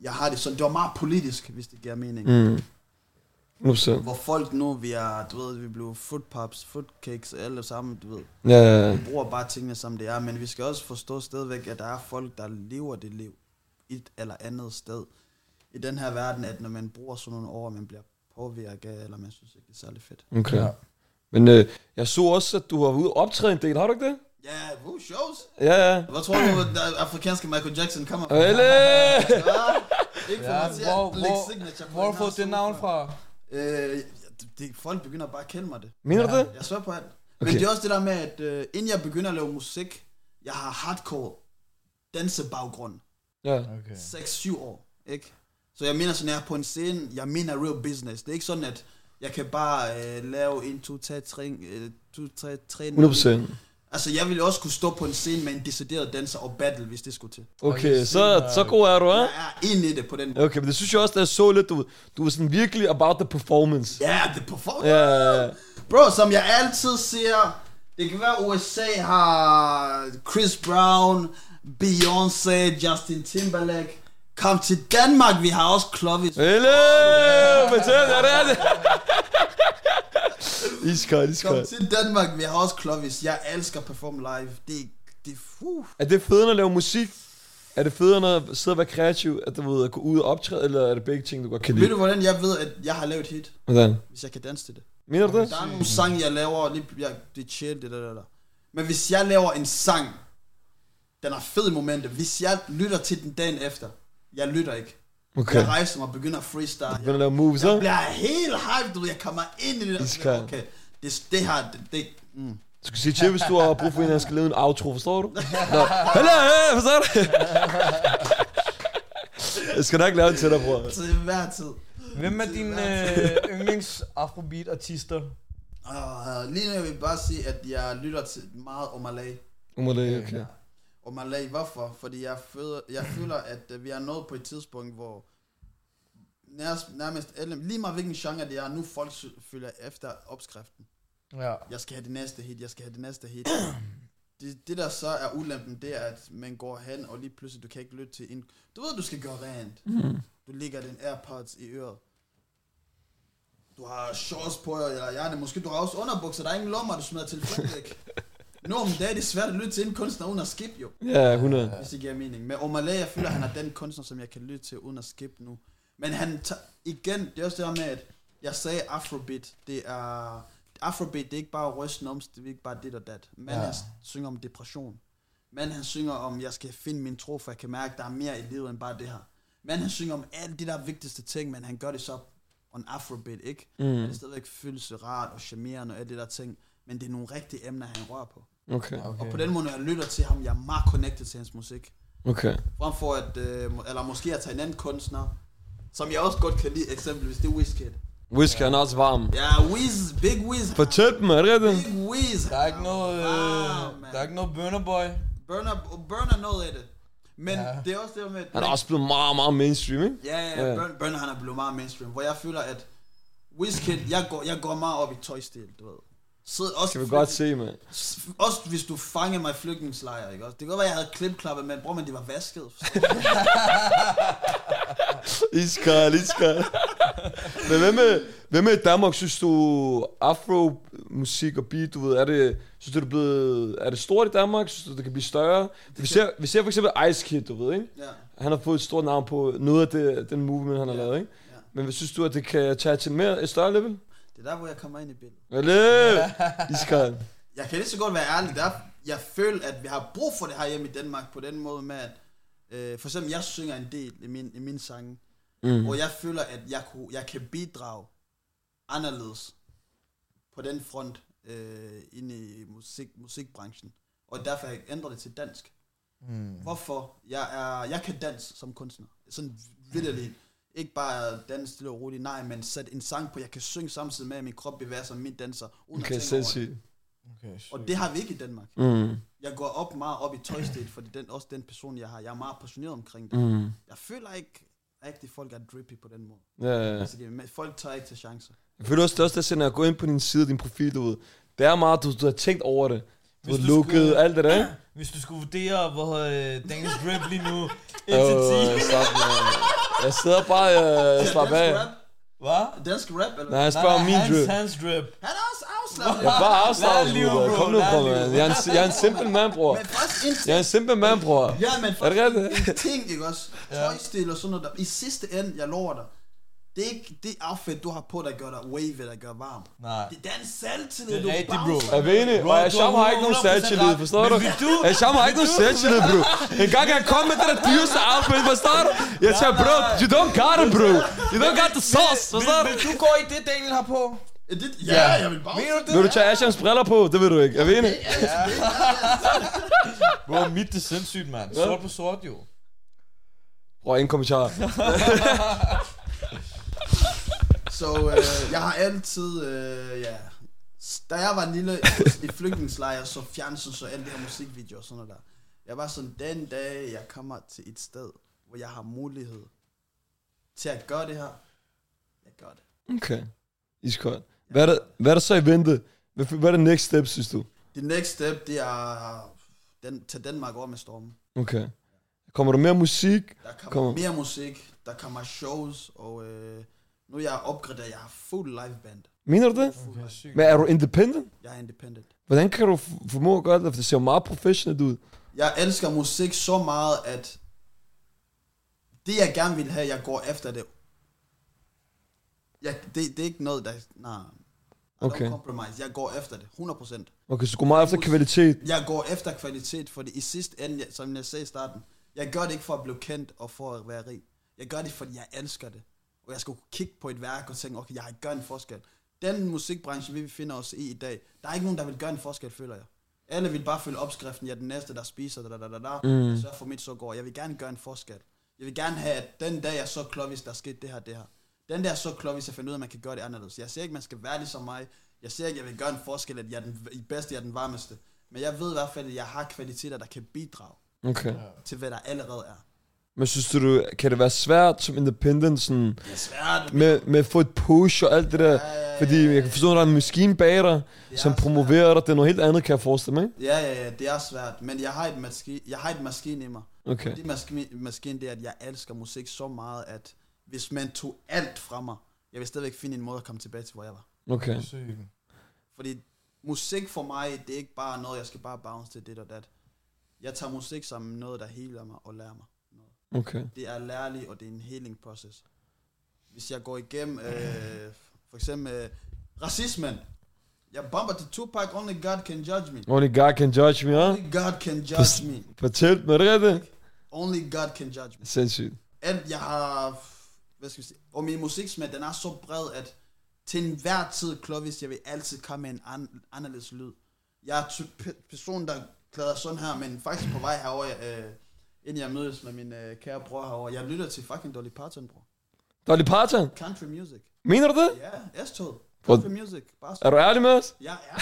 Speaker 4: jeg har det sådan. Det var meget politisk, hvis det giver mening.
Speaker 2: Mm. Nu så.
Speaker 4: Hvor folk nu, vi er, du ved, vi blev footpops, footcakes, alle sammen, du ved.
Speaker 2: Ja, ja, ja.
Speaker 4: Vi bruger bare tingene, som det er, men vi skal også forstå stadigvæk, at der er folk, der lever det liv et eller andet sted i den her verden, at når man bruger sådan nogle år, man bliver påvirket, af, eller man synes ikke, det er særlig fedt.
Speaker 2: Okay.
Speaker 3: Ja.
Speaker 2: Men øh, jeg så også, at du har været ude og optræde en del, har du ikke det?
Speaker 4: Ja, yeah, who shows?
Speaker 2: Ja, ja.
Speaker 4: Hvad tror du, at der afrikanske Michael Jackson kommer fra?
Speaker 2: Eller!
Speaker 4: Ah, Ikke for
Speaker 3: Ja,
Speaker 4: mig til at
Speaker 3: hvor,
Speaker 4: lægge
Speaker 3: hvor,
Speaker 4: signature på
Speaker 3: hvor har du
Speaker 4: her
Speaker 3: fået det
Speaker 4: sofa.
Speaker 3: navn fra?
Speaker 4: Øh, ja, det, det, folk begynder bare at kende mig det.
Speaker 2: Mener du
Speaker 3: Ja.
Speaker 2: det?
Speaker 4: Jeg svær på alt. Men
Speaker 2: Okay.
Speaker 4: det er også det der med, at øh, inden jeg begynder at lave musik, jeg har hardcore dansebaggrund.
Speaker 2: Ja.
Speaker 3: Okay.
Speaker 4: 6-7 år, ikke? Så jeg mener sådan, at jeg er på en scene, jeg mener real business. Det er ikke sådan, at jeg kan bare øh, lave en, to, tre, tre, øh, to, tre, tre,
Speaker 2: 100 procent.
Speaker 4: Altså, jeg ville også kunne stå på en scene med en decideret danser og battle, hvis det skulle til.
Speaker 2: Okay, så, så god er du,
Speaker 4: Jeg
Speaker 2: hva'?
Speaker 4: er ind i det på den måde.
Speaker 2: Okay, men det synes jeg også, da jeg så lidt, du, du var sådan virkelig about the performance.
Speaker 4: Ja, yeah, det performer.
Speaker 2: Ja, ja, ja.
Speaker 4: Bro, som jeg altid siger, det kan være, USA har Chris Brown, Beyoncé, Justin Timberlake. Kom til Danmark, vi har også Clovis.
Speaker 2: Eller! Fortæl, er det er det? Iskold,
Speaker 4: Kom
Speaker 2: iskold.
Speaker 4: til Danmark, vi har også Clovis. Jeg elsker at performe live. Det, det, uh.
Speaker 2: Er det federe at lave musik? Er det federe at sidde og være kreativ, at du ved at gå ud og optræde, eller er det begge ting, du godt kan
Speaker 4: Ved
Speaker 2: lide?
Speaker 4: du, hvordan jeg ved, at jeg har lavet et hit?
Speaker 2: Hvordan?
Speaker 4: Hvis jeg kan danse til det.
Speaker 2: Mener du det?
Speaker 4: Der er nogle sange, jeg laver, og lige, jeg, det er chill, det der, der, der. Men hvis jeg laver en sang, den er fed i momentet. Hvis jeg lytter til den dagen efter, jeg lytter ikke. Okay.
Speaker 2: Okay.
Speaker 4: Jeg rejser mig og begynder at freestyle.
Speaker 2: Begynder at lave moves, så?
Speaker 4: Jeg bliver helt hyped, du ved, jeg kommer ind i det der.
Speaker 2: Iskold.
Speaker 4: sådan, Okay, det, det her, det, det mm.
Speaker 2: Du skal sige til, hvis du har brug for en, der skal lave en outro, forstår du? Nå. Hallo, hey, forstår du? Jeg skal nok lave en til dig, bror.
Speaker 4: til hver tid.
Speaker 3: Hvem er dine øh, yndlings afrobeat artister?
Speaker 4: Og øh, lige nu vil jeg bare sige, at jeg lytter til meget Omalay.
Speaker 2: Nu må det, okay.
Speaker 4: Og Malay, hvorfor? Fordi jeg føler, jeg føler at øh, vi er nået på et tidspunkt, hvor nærmest, nærmest alle, lige meget hvilken genre det er, nu folk sø- følger efter opskriften.
Speaker 3: Ja.
Speaker 4: Jeg skal have det næste hit, jeg skal have det næste hit. Det, det der så er ulempen, det er, at man går hen, og lige pludselig, du kan ikke lytte til en... Du ved, du skal gøre rent. Du ligger den AirPods i øret. Du har shorts på, eller hjerne. Måske du har også underbukser. Der er ingen lommer, du smider telefonen væk. Nu om dagen er det svært at lytte til en kunstner uden at skip, jo.
Speaker 2: Ja, 100.
Speaker 4: Hvis det giver mening. Men Omalay, jeg føler, han er den kunstner, som jeg kan lytte til uden at skip nu. Men han tager... Igen, det er også det her med, at jeg sagde Afrobeat. Det er... Afrobeat, det er ikke bare rysten om, det er ikke bare dit og dat. Men
Speaker 3: Ja.
Speaker 4: ja. han synger om depression. Men han synger om, jeg skal finde min tro, for jeg kan mærke, der er mere i livet end bare det her. Men han synger om alle de der vigtigste ting, men han gør det så on Afrobeat, ikke? Mm. Men det er stadigvæk følelserart og charmerende og alle de der ting. Men det er nogle rigtige emner, han rører på.
Speaker 2: Okay,
Speaker 4: Og på den måde, når jeg lytter til ham, jeg er meget connected til hans musik.
Speaker 2: okay.
Speaker 4: Frem for at, øh, må- eller måske at tage en anden kunstner, som jeg også godt kan lide, eksempelvis det er Wizkid.
Speaker 2: Whisky er også varm.
Speaker 4: Ja, Wiz, Big Wiz,
Speaker 2: Fortæl dem, er det rigtigt?
Speaker 4: Big Wiz.
Speaker 3: Der er ikke noget,
Speaker 4: Ah,
Speaker 3: øh,
Speaker 4: man.
Speaker 3: der er ikke noget burner boy.
Speaker 4: Burner, burner noget af det. Men
Speaker 3: Ja.
Speaker 4: ja. det er også det med... at-
Speaker 2: Han er også blevet meget, meget mainstream, ikke?
Speaker 4: Ja, ja,
Speaker 2: Ja.
Speaker 4: ja. Burn, Burner, han er blevet meget mainstream, hvor jeg føler, at Wizkid, jeg går, jeg går meget op i tøjstil, du ved. Så også
Speaker 2: Kan vi godt se, mand.
Speaker 4: Også hvis du fangede mig i flygtningslejr, ikke også? Det kan godt være, jeg havde klipklappet, men bror, men det var vasket. forstår du?
Speaker 2: Iskold, iskold. Men hvad med, hvad med Danmark, synes du, afro-musik og beat, du ved, er det, synes du, det er, blevet, er det stort i Danmark? Synes du, det kan blive større? Vi ser, vi ser for eksempel Ice Kid, du ved, ikke?
Speaker 4: ja.
Speaker 2: Han har fået et stort navn på noget af det, den movement, han har lavet, ikke?
Speaker 4: ja.
Speaker 2: Men hvad synes du, at det kan tage til mere, et større level?
Speaker 4: Det er der, hvor jeg kommer ind i billedet.
Speaker 2: Eller? Iskold.
Speaker 4: jeg kan lige så godt være ærlig, der, jeg føler, at vi har brug for det her hjemme i Danmark på den måde med, at øh, for eksempel, jeg synger en del i min, i min sange, mm. hvor jeg føler, at jeg, kunne, jeg kan bidrage anderledes på den front øh, ind i musik, musikbranchen. Og derfor har jeg ændret det til dansk.
Speaker 3: Hmm,
Speaker 4: Mm. Hvorfor? Jeg, er, jeg kan dans som kunstner. Sådan vildt Ikke bare dans stille og roligt, nej, men sæt en sang på, jeg kan synge samtidig med, at min krop bevæger sig, min danser. uden at
Speaker 2: Okay,
Speaker 4: tænke over det.
Speaker 2: sindssygt.
Speaker 3: Okay, shit.
Speaker 4: Og det har vi ikke i Danmark.
Speaker 2: Mm.
Speaker 4: Jeg går op meget op i tøjstil, fordi den, også den person, jeg har, jeg er meget passioneret omkring det.
Speaker 2: Mm.
Speaker 4: Jeg føler ikke, at de folk er drippy på den måde.
Speaker 2: Ja, ja, ja.
Speaker 4: Altså, det- men folk tager ikke til chancer.
Speaker 2: Jeg føler også, det er også det, at når jeg går ind på din side, din profil, du ved, det er meget, du, du har tænkt over det. Du
Speaker 3: Hvis
Speaker 2: har
Speaker 3: du
Speaker 2: lukket
Speaker 3: skulle-
Speaker 2: alt det der, ikke?
Speaker 3: Hvis du skulle vurdere, hvor øh, Daniels rap lige nu, 1 til
Speaker 2: Øh,
Speaker 3: 10.
Speaker 2: slap, mand. Jeg sidder bare og øh, slapper af.
Speaker 4: dansk rap?
Speaker 3: Hvad?
Speaker 4: Dansk rap? Eller?
Speaker 2: Nej, jeg spørger om min
Speaker 3: hans,
Speaker 2: drip.
Speaker 3: hans drip.
Speaker 4: Han er også afslappet.
Speaker 2: Jeg er bare
Speaker 3: Lad
Speaker 2: afslappet,
Speaker 3: liv,
Speaker 2: bror.
Speaker 3: bro.
Speaker 2: Kom nu,
Speaker 3: Lad
Speaker 2: bror,
Speaker 3: liv.
Speaker 2: mand. Jeg er en, jeg er en simpel mand, bror.
Speaker 4: Men først en
Speaker 2: Jeg
Speaker 4: ting.
Speaker 2: er en simpel mand, bror.
Speaker 4: Ja, men
Speaker 2: Er det
Speaker 4: først
Speaker 2: rigtigt?
Speaker 4: en ting, ikke også? Tøjstil og sådan noget. Der. I sidste ende, jeg lover dig, det er ikke det outfit, du har på, der gør dig wave, der gør varm.
Speaker 3: Nej.
Speaker 4: Det er den selvtillid,
Speaker 3: Det er
Speaker 4: du
Speaker 3: rigtigt, bro.
Speaker 4: bouncer.
Speaker 2: Er vi enige?
Speaker 3: Bro,
Speaker 2: Og
Speaker 3: du
Speaker 2: Asham
Speaker 3: har
Speaker 2: har ikke nogen
Speaker 3: 100%
Speaker 2: selvtillid,
Speaker 3: ret.
Speaker 2: forstår
Speaker 3: Men
Speaker 2: du?
Speaker 3: vil du?
Speaker 2: Asham har ikke nogen selvtillid, bro. En gang jeg kom med det der dyreste outfit, forstår du? Jeg sagde, bro, you don't got it, bro. You don't got the sauce, forstår du?
Speaker 3: Vil du gå i det, Daniel har på?
Speaker 4: Er det- Ja, jeg vil
Speaker 3: Mener
Speaker 4: bounce.
Speaker 3: du det?
Speaker 2: Vil du tage Ashams briller på? Det vil du ikke. Er vi enige?
Speaker 3: Bro, mit det er sindssygt, mand. Sort på sort, jo.
Speaker 2: Bror, ingen kommentar.
Speaker 4: Så øh, jeg har altid, øh, ja, S- da jeg var lille i flygtningslejr, så fjernsyn så alle de her musikvideoer og sådan noget der. Jeg var sådan, den dag jeg kommer til et sted, hvor jeg har mulighed til at gøre det her, jeg gør det.
Speaker 2: Okay. Iskold. Hvad er, der, hvad er der så i vente? Hvad, hvad er det next step, synes du?
Speaker 4: Det next step, det er den, tage Danmark over med stormen.
Speaker 2: Okay. Kommer der mere musik?
Speaker 4: Der kommer
Speaker 2: Kommer.
Speaker 4: mere musik, der kommer shows, og øh, nu er jeg opgraderet, jeg har fuld live band.
Speaker 2: Mener du det?
Speaker 3: Okay, sygt.
Speaker 2: Men er du independent?
Speaker 4: Jeg er independent.
Speaker 2: Hvordan kan du f- formå at gøre det? For det ser jo meget professionelt ud.
Speaker 4: jeg elsker musik så meget, at det jeg gerne vil have, jeg går efter det. Jeg, det, det er ikke noget, der... Nej,
Speaker 2: Okay.
Speaker 4: okay. compromise. Jeg går efter det, 100%.
Speaker 2: Okay, så du går meget efter kvalitet.
Speaker 4: Jeg går efter kvalitet, for det i sidste ende, jeg, som jeg sagde i starten, jeg gør det ikke for at blive kendt og for at være rig. Jeg gør det, fordi jeg elsker det. Og jeg skulle kigge på et værk og tænke, okay, jeg gør en forskel. Den musikbranche, vi befinder os i i dag, der er ikke nogen, der vil gøre en forskel, føler jeg. Alle vil bare følge opskriften, jeg er den næste, der spiser, da, da, da, da, da. Mm. så for mit så går. Jeg vil gerne gøre en forskel. Jeg vil gerne have, at den dag, jeg så klovis, der skete det her, det her. Den der så klovis, jeg finder ud af, at man kan gøre det anderledes. Jeg siger ikke, man skal være ligesom mig. Jeg siger ikke, jeg vil gøre en forskel, at jeg er den bedste, jeg er den varmeste. Men jeg ved i hvert fald, at jeg har kvaliteter, der kan bidrage.
Speaker 2: Okay.
Speaker 4: til hvad der allerede er.
Speaker 2: Men synes du, kan det være svært som independent sådan,
Speaker 4: Det er svært.
Speaker 2: med, med at få et push og alt det der?
Speaker 4: ja,
Speaker 2: Fordi jeg kan forstå, at der er en maskine bag dig,
Speaker 4: Det er
Speaker 2: som
Speaker 4: svært.
Speaker 2: promoverer dig. Det er noget helt andet, kan jeg forestille mig. ikke?
Speaker 4: Ja, ja, ja, det er svært. Men jeg har et, maski, jeg har et maskin i mig.
Speaker 2: Okay.
Speaker 4: Det maski, maskin, det er, at jeg elsker musik så meget, at hvis man tog alt fra mig, jeg vil stadigvæk finde en måde at komme tilbage til, hvor jeg var.
Speaker 2: Okay.
Speaker 3: Sygt.
Speaker 4: Fordi musik for mig, det er ikke bare noget, jeg skal bare bounce til dit og dat. Jeg tager musik som noget, der heler mig og lærer mig.
Speaker 2: Okay.
Speaker 4: Det er lærlig, og det er en healing process. Hvis jeg går igennem, øh, for eksempel, øh, racismen. Jeg bomber til Tupac, only God can judge me.
Speaker 2: Only God can judge me, huh?
Speaker 4: Only God can judge me.
Speaker 2: Fortæl mig, er det rigtigt?
Speaker 4: Only God can judge me.
Speaker 2: Sindssygt.
Speaker 4: Alt jeg har, hvad skal vi sige, og min musiksmag, den er så bred, at til enhver tid, Clovis, jeg vil altid komme med en an, anderledes lyd. Jeg er typ pe- person, der klæder sådan her, men faktisk på vej herover, øh, inden jeg mødes med min øh, kære bror herover, jeg lytter til fucking Dolly Parton, bror.
Speaker 2: Dolly Parton,
Speaker 4: Country music.
Speaker 2: mener du det?
Speaker 4: Ja, yeah, S-toget.
Speaker 2: Hvor-
Speaker 4: Country music. Bare
Speaker 2: Er du ærlig med os?
Speaker 4: Jeg er,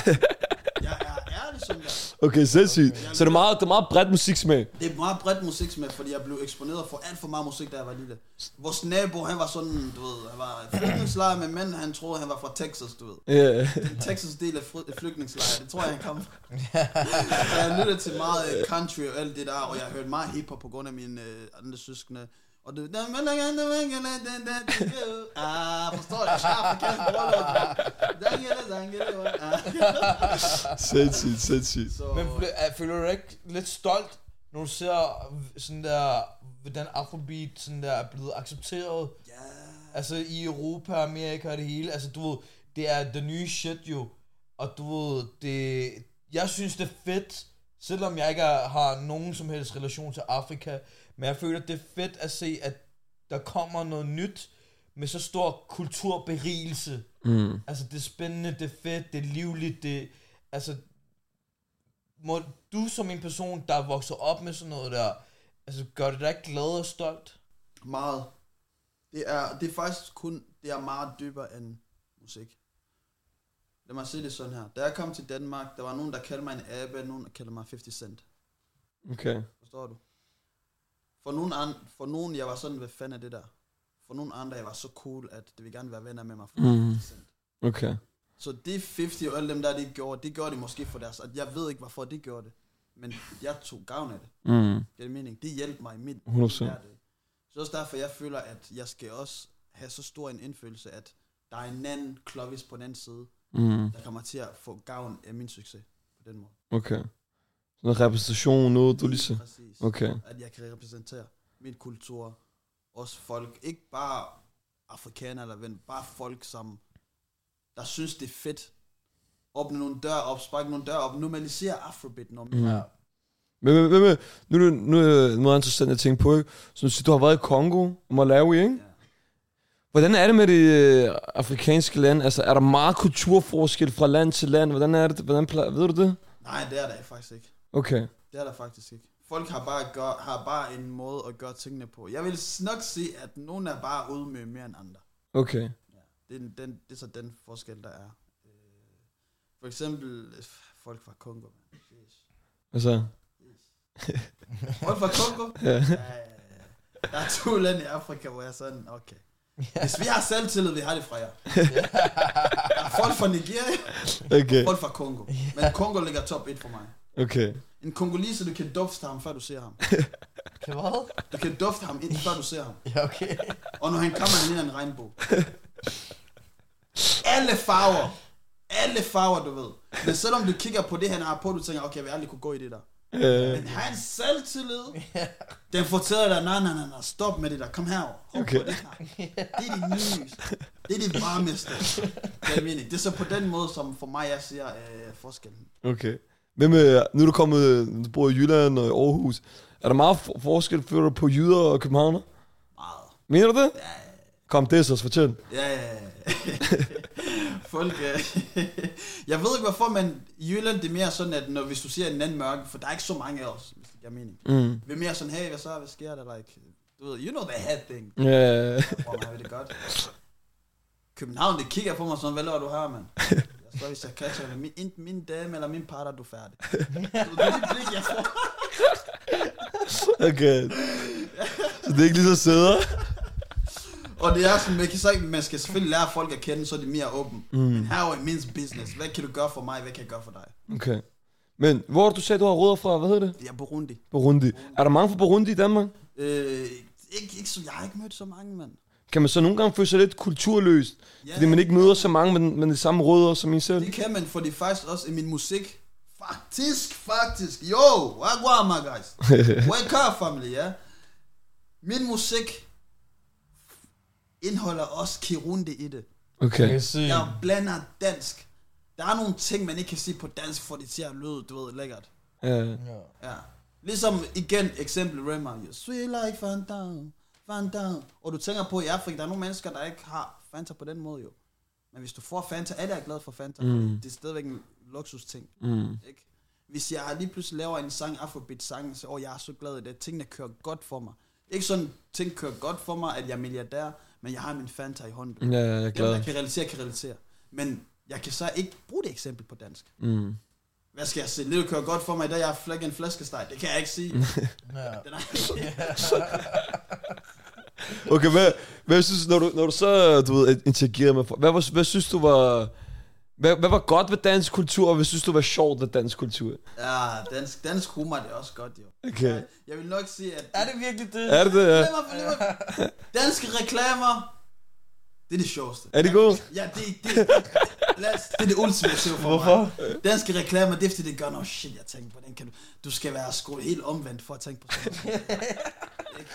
Speaker 4: jeg er ærlig som jeg.
Speaker 2: Okay, sindssygt. Så det er meget, det er meget bredt musiksmag.
Speaker 4: Det er meget bredt musiksmag, fordi jeg blev eksponeret for alt for meget musik, da jeg var lille. Vores nabo, han var sådan, du ved, han var flygtningslejr med mænd, han troede, han var fra Texas, du ved.
Speaker 2: Yeah.
Speaker 4: Den Texas del af fry- flygtningslejr, det tror jeg, han kom fra. Så jeg lyttede til meget øh, country og alt det der, og jeg hørte meget hiphop på grund af mine øh, andre søskende. Og det... Ah, forstår du? Afrikansk bryllup. Ah.
Speaker 2: Sindssygt, sindssygt.
Speaker 4: Så-
Speaker 3: Men ble- er- føler du dig ikke lidt stolt, når du ser øh, sådan der, hvordan afrobeat sådan der er blevet accepteret?
Speaker 4: Ja.
Speaker 3: Altså i Europa, Amerika og det hele. Altså du ved, det er det nye shit jo. Og du ved, det, jeg synes det er fedt, selvom jeg ikke er, har nogen som helst relation til Afrika. Men jeg føler det er fedt at se, at der kommer noget nyt med så stor kulturberigelse.
Speaker 2: Mm.
Speaker 3: Altså det er spændende, det er fedt, det er livligt, det altså må du som en person, der er vokset op med sådan noget der, altså gør det dig ikke glad og stolt?
Speaker 4: øh, Meget. Det er, det er faktisk kun, det er meget dybere end musik. Lad mig sige det sådan her. Da jeg kom til Danmark, der var nogen, der kaldte mig en abe, nogen, der kaldte mig 50 Cent.
Speaker 2: Okay.
Speaker 4: Forstår du? For nogen, an, for nogen jeg var sådan, hvad fanden er det der? For nogen andre, jeg var så cool, at det ville gerne være venner med mig. For
Speaker 2: Mm.
Speaker 4: 50 Cent.
Speaker 2: Okay.
Speaker 4: Så det 50 og alle dem der, det gjorde, det gjorde det måske for deres. Og jeg ved ikke, hvorfor det gjorde det. Men jeg tog gavn af det.
Speaker 2: Mm.
Speaker 4: Giver det mening? Det hjalp mig i mit
Speaker 2: 100%.
Speaker 4: hverdag. Så også derfor, jeg føler, at jeg skal også have så stor en indfølelse, at der er en anden klovis på den anden side,
Speaker 2: Mm.
Speaker 4: der kommer til at få gavn af min succes på den måde.
Speaker 2: Okay. Sådan en repræsentation, noget du lige så...
Speaker 4: Præcis.
Speaker 2: Okay.
Speaker 4: At jeg kan repræsentere min kultur, også folk, ikke bare afrikanere eller hvem, bare folk, som der synes, det er fedt. Åbne nogle døre op, sparke nogle døre op, normalisere afrobeat, når
Speaker 2: Mm. Ja. Men, men, men, men nu, nu, nu er det noget interessant, jeg tænker på, ikke? Så du siger, du har været i Kongo og Malawi, ikke?
Speaker 4: Ja.
Speaker 2: Hvordan er det med det øh, afrikanske land? Altså, er der meget kulturforskel fra land til land? Hvordan er det? Hvordan, pla- ved du det?
Speaker 4: Nej, det er der faktisk ikke.
Speaker 2: Okay.
Speaker 4: Det er der faktisk ikke. Folk har bare, gør, har bare en måde at gøre tingene på. Jeg vil nok sige, at nogen er bare udmøde mere end andre.
Speaker 2: Okay.
Speaker 4: Det er, den- den, det er så den forskel, der er. Øh, For eksempel øh, folk fra Kongo. mand. Jeez.
Speaker 2: Altså,
Speaker 4: Folk fra Kongo? Ja, ja, ja. Der er to lande i Afrika, hvor jeg er sådan, okay. Hvis vi har selvtillid, vi har det fra jer. Der er folk fra Nigeria,
Speaker 2: okay,
Speaker 4: folk fra Kongo. Men Kongo ligger top 1 for mig.
Speaker 2: okay.
Speaker 4: En kongolese, du kan dufte ham, før du ser ham.
Speaker 3: Kan hvad?
Speaker 4: Du kan dufte ham, ind, før du ser ham.
Speaker 3: Ja, okay.
Speaker 4: Og når han kommer, han ligner en regnbue. Alle farver. Alle farver, du ved. Men selvom du kigger på det, han har på, du tænker, okay, jeg vil aldrig kunne gå i det der.
Speaker 2: Øh,
Speaker 4: Men hans selvtillid, den fortæller dig, nej, nej, nej, nej, stop med det der, kom herover. Hop
Speaker 2: Okay.
Speaker 4: På det, her. det er dit nys. Det er dit varmeste. Det er, mening. det er så på den måde, som for mig, jeg siger øh, forskellen.
Speaker 2: okay. Men med, nu er du kommet, du bor i Jylland og i Aarhus. Er der meget for- forskel, føler du, på jyder og københavner?
Speaker 4: Meget.
Speaker 2: Mener du det? Kom, det er så, fortæl.
Speaker 4: Ja, ja, ja. Folk, øh, jeg ved ikke hvorfor, men i Jylland det er mere sådan, at når, hvis du ser en anden mørke, for der er ikke så mange af os, hvis det giver mening.
Speaker 2: Mm.
Speaker 4: Vi er mere sådan, hey, hvad så, hvad sker der, like, du ved, you know the hat thing,
Speaker 2: Ja,
Speaker 4: hvor man har det godt. København, det kigger på mig sådan, hvad laver du her, mand? Jeg tror, hvis jeg catcher det, min, enten min dame eller min partner, du er færdig. Du ved, det blik, jeg får.
Speaker 2: Okay. Så det er ikke lige så sæder.
Speaker 4: Og det er sådan, man, kan så ikke, man skal selvfølgelig lære folk at kende, så er det mere åben. Mm. Men her er min business. Hvad kan du gøre for mig? Hvad kan jeg gøre for dig?
Speaker 2: Okay. Men hvor er det, du sagde, du har rødder fra? Hvad hedder det?
Speaker 4: Jeg er Burundi.
Speaker 2: Burundi. Er der mange fra Burundi i Danmark?
Speaker 4: Øh, ikke, ikke, så, jeg har ikke mødt så mange, mand.
Speaker 2: Kan man så nogle gange føle sig lidt kulturløst?
Speaker 4: Ja.
Speaker 2: Fordi man ikke møder så mange med, med de samme rødder som en selv?
Speaker 4: Det kan man, for det er faktisk også i min musik. Faktisk, faktisk. Yo, wagwa, my guys. Wake up, family, ja. Min musik indeholder også Kirundi i det.
Speaker 2: Okay.
Speaker 3: se.
Speaker 4: Jeg blander dansk. Der er nogle ting, man ikke kan sige på dansk, for det ser lød, du ved, lækkert.
Speaker 2: Ja.
Speaker 3: Ja.
Speaker 4: Ja. Ligesom igen, eksempel Rema. You sweet like Fanta, Fanta. Og du tænker på i Afrika, der er nogle mennesker, der ikke har Fanta på den måde jo. Men hvis du får Fanta, alle er glade for Fanta. Mm. Det er stadigvæk en luksus ting.
Speaker 2: Mm.
Speaker 4: Ikke? Hvis jeg lige pludselig laver en sang, Afrobeat-sang, så åh, jeg er så glad i det. Tingene kører godt for mig. Ikke sådan, ting kører godt for mig, at jeg er milliardær, men jeg har min Fanta i hånden.
Speaker 2: Ja, jeg er
Speaker 4: Dem,
Speaker 2: Mm, glad.
Speaker 4: der kan realisere, kan realisere. Men jeg kan så ikke bruge det eksempel på dansk.
Speaker 2: Mm.
Speaker 4: Hvad skal jeg se? Det kører godt for mig i dag, jeg har flækket en flæskesteg. Det kan jeg ikke sige.
Speaker 3: Ja.
Speaker 4: Den er-
Speaker 2: Okay, hvad, hvad synes når du, når du så, du ved, interagerer med folk, hvad, var, hvad synes du var, hvad, hvad var godt ved dansk kultur, og hvad synes du var sjovt ved dansk kultur?
Speaker 4: ja, dansk, dansk humor det er også godt, jo.
Speaker 2: Okay.
Speaker 4: Jeg vil nok sige, at
Speaker 3: Er det virkelig det?
Speaker 2: Er det det? Ja.
Speaker 4: Lad mig- lad mig- danske reklamer, det er det sjoveste.
Speaker 2: Er det godt?
Speaker 4: Ja, det, det, lad os, det er det ultimative for Hvorfor? mig. Danske reklamer, det er fordi, det gør noget shit, jeg tænker på. Den kan du, du skal være skruet helt omvendt for at tænke på sådan noget. Ikke?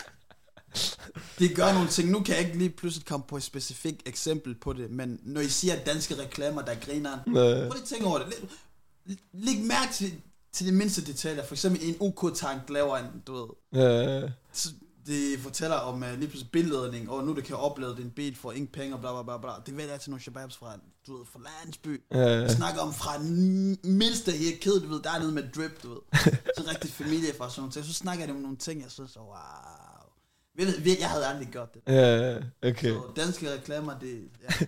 Speaker 4: Det gør nogle ting. Nu kan jeg ikke lige pludselig komme på et specifikt eksempel på det, men når I siger danske reklamer, der griner,
Speaker 2: Ja.
Speaker 4: prøv lige at tænke over det. Læg, læg mærke til, til de mindste detaljer. For eksempel en UK-tank laver en, du ved,
Speaker 2: Ja.
Speaker 4: så det fortæller om uh, lige pludselig billedledning, og nu du kan oplade din bil for ingen penge, og bla bla bla bla. Det vælger altid nogle shababs fra, du ved, fra landsby.
Speaker 2: Ja.
Speaker 4: Jeg snakker om fra n- mindste her kæde, du ved, der er noget med drip, du ved. Så rigtig familie fra sådan nogle ting. Så snakker jeg om nogle ting, jeg synes, wow. Ved du, ved- Jeg havde aldrig gjort det.
Speaker 2: Ja, okay.
Speaker 4: Så danske reklamer, det, ja,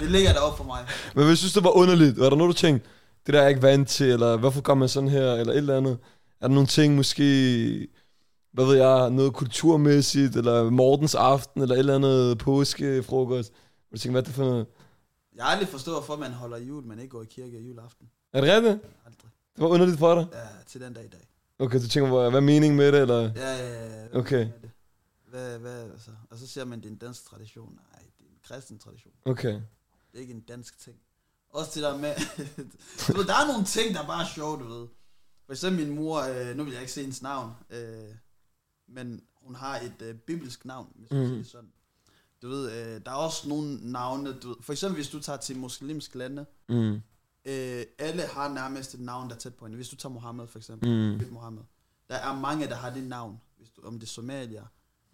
Speaker 4: det ligger deroppe for mig.
Speaker 2: Men hvad synes du var underligt? Var der noget, du tænkte, det der er jeg ikke vant til, eller hvorfor kom man sådan her, eller et eller andet? Er der nogle ting måske, hvad ved jeg, noget kulturmæssigt, eller Mortens aften, eller et eller andet påskefrokost? Hvor du tænker, hvad er det for noget?
Speaker 4: Jeg har aldrig forstået, hvorfor man holder jul, men ikke går i kirke juleaften.
Speaker 2: Er det rigtigt?
Speaker 4: Aldrig.
Speaker 2: Det var underligt for dig?
Speaker 4: Ja, til den dag i dag.
Speaker 2: Okay, så tænker jeg, hvad er meningen med det, eller?
Speaker 4: Ja, ja, ja.
Speaker 2: Okay.
Speaker 4: Hvad, er det? hvad, hvad altså? Og så siger man, det er en dansk tradition. Nej, det er en kristen tradition.
Speaker 2: Okay.
Speaker 4: Det er ikke en dansk ting. Også det der med, du ved, der er nogle ting, der bare er sjove, du ved. For eksempel min mor, øh, nu vil jeg ikke se hendes navn, øh, men hun har et øh, bibelsk navn, hvis man mm. siger
Speaker 2: Mhm.
Speaker 4: det sådan. Du ved, øh, der er også nogle navne, du ved. For eksempel hvis du tager til muslimsk lande,
Speaker 2: Mm.
Speaker 4: øh, alle har nærmest et navn, der er tæt på hende. Hvis du tager Mohammed for eksempel,
Speaker 2: Mm.
Speaker 4: mm. Mohammed, der er mange, der har det navn. Hvis du, om det er Somalia,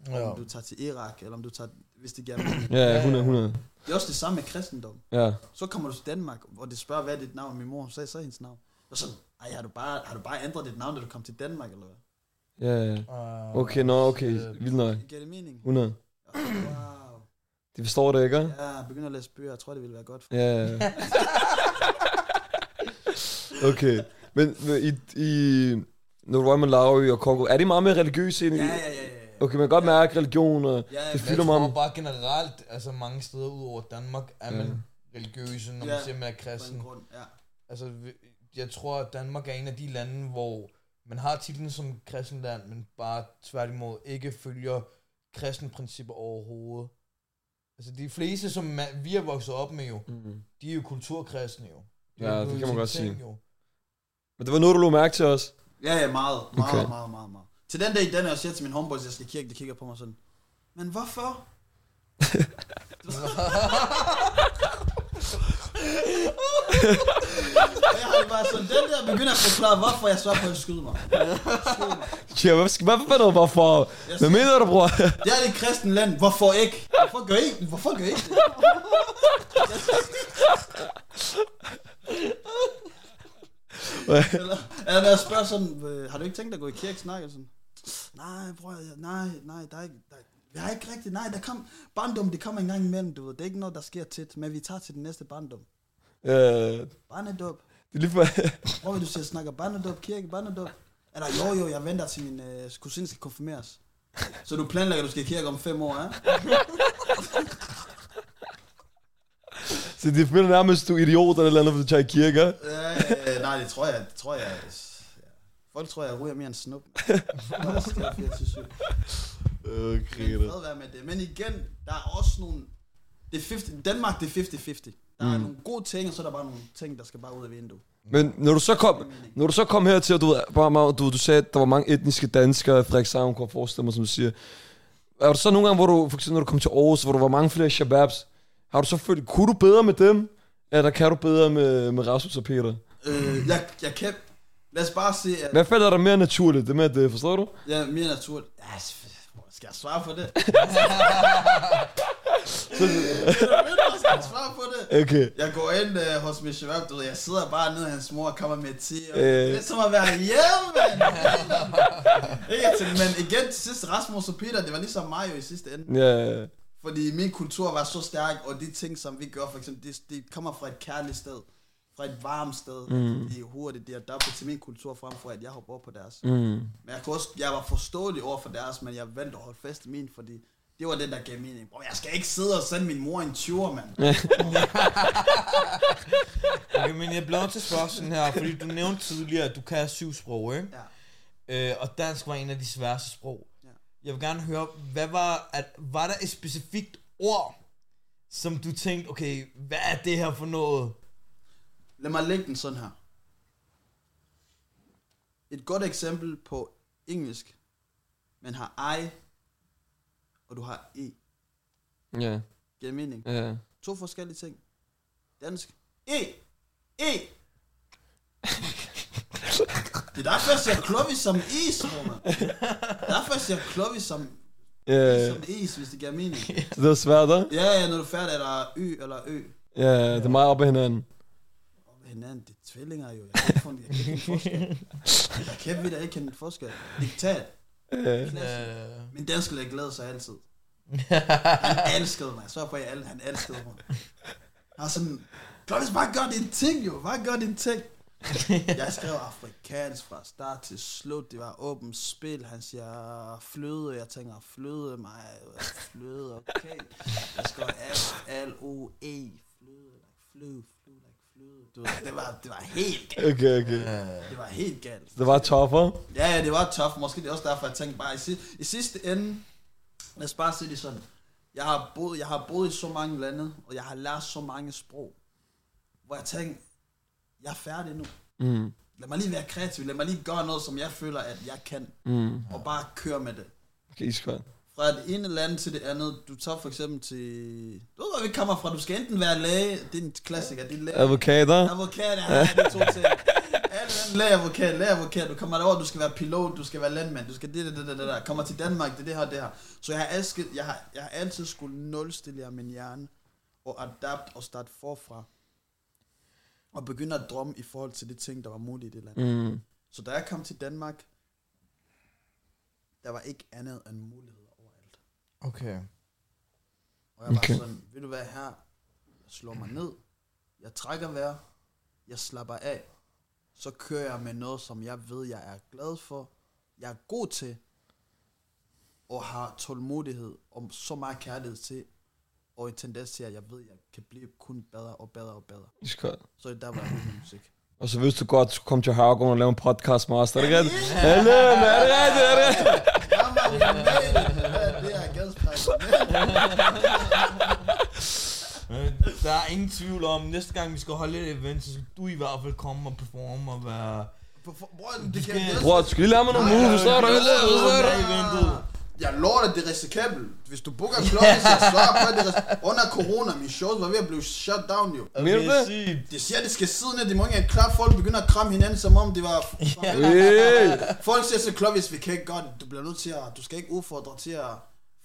Speaker 3: Ja.
Speaker 4: om du tager til Irak, eller om du tager, hvis det giver mening.
Speaker 2: Ja,
Speaker 3: Ja, ja.
Speaker 2: 100, 100.
Speaker 4: Det er også det samme med kristendom.
Speaker 2: Ja.
Speaker 4: Så kommer du til Danmark, og det spørger, hvad er dit navn? Min mor hun sagde så hendes navn. Og så, ej, har du, bare, har du bare ændret dit navn, da du kom til Danmark, eller hvad?
Speaker 2: Ja, ja.
Speaker 3: Ah,
Speaker 2: Okay, nå, okay.
Speaker 3: shit.
Speaker 2: Vildt nok.
Speaker 4: Giver det mening?
Speaker 2: 100.
Speaker 4: Wow.
Speaker 2: De forstår det, ikke? hva'?
Speaker 4: Ja, begynder at læse bøger. Jeg tror, det ville være godt for
Speaker 2: Ja, ja. ja. Okay. Men men i, i når du var med Malawi og Kongo, er det meget mere religiøst egentlig?
Speaker 4: Ja, ja, ja, ja. ja.
Speaker 2: Okay, man kan godt mærke religion og...
Speaker 4: Ja,
Speaker 2: Det
Speaker 4: ja,
Speaker 2: fylder
Speaker 3: Jeg
Speaker 2: mig
Speaker 3: tror
Speaker 2: om-
Speaker 3: bare generelt, altså mange steder ud over Danmark, er man religiøse, når man
Speaker 4: Ja.
Speaker 3: siger, man er
Speaker 4: på en
Speaker 3: kristen.
Speaker 4: grund. Ja.
Speaker 3: Altså, vi- jeg tror, at Danmark er en af de lande, hvor man har titlen som kristen land, men bare tværtimod ikke følger kristne principper overhovedet. Altså, de fleste, som ma- vi er vokset op med jo,
Speaker 2: Mm.
Speaker 3: de er jo kulturkristne jo.
Speaker 2: Ja,
Speaker 3: jo
Speaker 2: det kan man
Speaker 3: blevet til
Speaker 2: godt
Speaker 3: en ting,
Speaker 2: sige.
Speaker 3: Jo.
Speaker 2: Men det var noget, du lå mærke til os.
Speaker 4: Ja, ja, meget, meget,
Speaker 2: Okay.
Speaker 4: okay. meget, meget, meget. Til den dag i dag, når jeg siger til min homeboys, at jeg skal i kirke, de kigger på mig sådan, men hvorfor? Og jeg har det bare sådan, den der begynder at forklare, hvorfor jeg svarer på at skyde mig.
Speaker 2: Ja, hvad skal man for hvorfor? Hvad mener du, bror?
Speaker 4: Det er det kristne land, hvorfor ikke? Hvorfor gør I, ikke- hvorfor gør I ikke det? Eller, eller når jeg spørger sådan, øh, har du ikke tænkt dig at gå i kirke snakke sådan? Nej, bror, jeg- nej, nej, der er ikke, der, jeg har ikke rigtigt, nej, der kom, barndom, det kommer en gang imellem, du ved, det er ikke noget, der sker tit, men vi tager til den næste barndom.
Speaker 2: Øh,
Speaker 4: Barnedåb.
Speaker 2: det er lige for...
Speaker 4: Hvor vil du sige, jeg snakker barnedåb, kirke, barnedåb? Eller jo, jo, jeg venter til min øh, kusine skal konfirmeres. Så du planlægger, at du skal i kirke om fem år, ja?
Speaker 2: Så det føler nærmest, du er idiot eller et eller andet, for du tager i kirke. hva'?
Speaker 4: Øh, nej, det tror jeg, det tror jeg. ja. Folk tror, jeg ryger mere end snup. Nå, jeg skal have 24/7.
Speaker 2: Øh,
Speaker 4: Men
Speaker 2: griner.
Speaker 4: fred være med det. Men igen, der er også nogle... Det er 50, Danmark, det er 50-50. Der er nogle gode ting, og så er der bare nogle ting, der skal bare ud af vinduet.
Speaker 2: Men når du så kom, når du så kom hertil, og du, ved, bare, meget- du, du sagde, at der var mange etniske danskere, Frederikshavn kunne jeg forestille mig, som du siger. Er du så nogle gange, hvor du, for eksempel når du kom til Aarhus, hvor der var mange flere shababs, har du så følt, kunne du bedre med dem, eller kan du bedre med, med Rasmus og Peter?
Speaker 4: Øh, jeg, jeg kan... Lad os bare se, at
Speaker 2: Hvad falder der mere naturligt, det med det, forstår du?
Speaker 4: jeg er mere naturligt... Ja, s- skal jeg svare på det? skal jeg svare på det?
Speaker 2: Okay.
Speaker 4: Jeg går ind øh, hos min shabab, du ved, jeg sidder bare nede i hans mor og kommer med te, og
Speaker 2: Øh.
Speaker 4: det er som at være hjemme, mand. Ikke til, men igen til sidst, Rasmus og Peter, det var ligesom mig jo i sidste ende.
Speaker 2: Ja,
Speaker 4: Fordi min kultur var så stærk, og de ting, som vi gør, for eksempel, det, det kommer fra et kærligt sted, fra et varmt sted, mm. de er hurtigt, de adapter til min kultur, frem for at jeg hopper over på deres.
Speaker 2: mm.
Speaker 4: Men jeg, kunne også, jeg var forståelig over for deres, men jeg valgte at holde fast i min, fordi det var det, der gav mening. Bro, jeg skal ikke sidde og sende min mor en 20'er, mand.
Speaker 3: Okay, men jeg bliver nødt til at spørge sådan her, fordi du nævnte tidligere, at du kan syv sprog, ikke?
Speaker 4: Ja.
Speaker 3: Øh, og dansk var en af de sværeste sprog.
Speaker 4: Ja.
Speaker 3: Jeg vil gerne høre, hvad var, at, var der et specifikt ord, som du tænkte, okay, hvad er det her for noget?
Speaker 4: Lad mig lægge den sådan her. Et godt eksempel på engelsk. Man har I, og du har E.
Speaker 2: Ja,
Speaker 4: Giver det mening?
Speaker 2: ja.
Speaker 4: To forskellige ting. Dansk. E. E. det er derfor, jeg siger klovis som is, Roman. Det er derfor, jeg siger klovis som,
Speaker 2: Ja,
Speaker 4: som is, hvis det giver mening.
Speaker 2: så det var svært, da?
Speaker 4: Ja, ja, når du er færdig, er der Y eller Ø.
Speaker 2: Ja, det er meget op ad hinanden.
Speaker 4: Og hvad hinanden, det er tvillinger jo. Jeg kan ikke få en- jeg kan ikke kende forskel. Jeg kan vidt, jeg ikke kende forskel. Diktat.
Speaker 2: Ja.
Speaker 4: Klasse.
Speaker 3: Øh,
Speaker 4: Min dansker jeg glæder sig altid. Han elskede mig. Så på, at jeg al- han elskede mig. Og sådan, Klovis, bare gør din ting jo. Bare gør din ting. Jeg skrev afrikansk fra start til slut. Det var åbent spil. Han siger fløde. Jeg tænker, fløde mig. Fløde, okay. Jeg skrev F, L, O, E. Fløde, like fløde, fløde, like fløde. Du, ved, det, var, det var helt galt.
Speaker 2: Okay, okay.
Speaker 4: Det var helt galt.
Speaker 2: Det var tougher.
Speaker 4: Ja, ja, det var tough. Måske det er også derfor, jeg tænkte bare, i, si- i sidste ende, lad os bare sige det sådan. Jeg har, boet, jeg har boet i så mange lande, og jeg har lært så mange sprog, hvor jeg tænkte, jeg er færdig nu.
Speaker 2: Mm.
Speaker 4: Lad mig lige være kreativ. Lad mig lige gøre noget, som jeg føler, at jeg kan.
Speaker 2: Mm.
Speaker 4: Og bare køre med det.
Speaker 2: Okay, iskold.
Speaker 4: Fra det ene land til det andet. Du tager for eksempel til... Du ved, hvor vi kommer fra. Du skal enten være læge. Det er en klassiker. Det er læge.
Speaker 2: Advokater.
Speaker 4: Advokat er de to ting. Alle lande, Læg advokat, læg advokat. Du kommer derover, du skal være pilot, du skal være landmand, du skal det, det, det, det, det der. Kommer til Danmark, det er det her, det her. Så jeg har, elsket, jeg har, jeg har altid skulle nulstille jer min hjerne og adapt og starte forfra. Og begynde at drømme i forhold til de ting, der var muligt i det land.
Speaker 2: Mm.
Speaker 4: Så da jeg kom til Danmark, der var ikke andet end muligheder overalt.
Speaker 3: Øh, okay.
Speaker 4: Og jeg var
Speaker 2: Okay.
Speaker 4: okay. sådan, vil du være her? Jeg slår mig ned. Jeg trækker vejr. Jeg slapper af. Så kører jeg med noget, som jeg ved, jeg er glad for. Jeg er god til. Og har tålmodighed og så meget kærlighed til. Og en tendens til, at jeg ved, at jeg kan blive kun bedre og bedre og bedre.
Speaker 2: Iskold.
Speaker 4: Så det er der var jeg ude med musik.
Speaker 2: Og så vidste du godt, at du kom til Hørgården og lave en podcast med os. Er det ikke rigtigt? Hallo, men er det rigtigt? Er det rigtigt?
Speaker 4: Jamen, det er det, jeg er gadspræs.
Speaker 3: Men Øh, Der er ingen tvivl om, næste gang vi skal holde et event, så skal du i hvert fald komme og performe og være...
Speaker 4: Bror, det kan jeg
Speaker 2: Bror, du skal lige lære mig nogle moves, forstår du? Forstår du? Forstår du?
Speaker 4: Jeg lover dig, det er risikabelt. Hvis du booker klokken, så svarer på, at det er ris- Under corona, min shows var ved at blive shut down, jo.
Speaker 2: Mener du det?
Speaker 3: sygt.
Speaker 4: Det siger, at det skal sidde ned, de må ikke engang folk begynder at kramme hinanden, som om det var...
Speaker 2: Hey!
Speaker 4: Folk siger så klokken, hvis vi kan ikke gøre det. Du bliver nødt til at... Du skal ikke udfordre til at...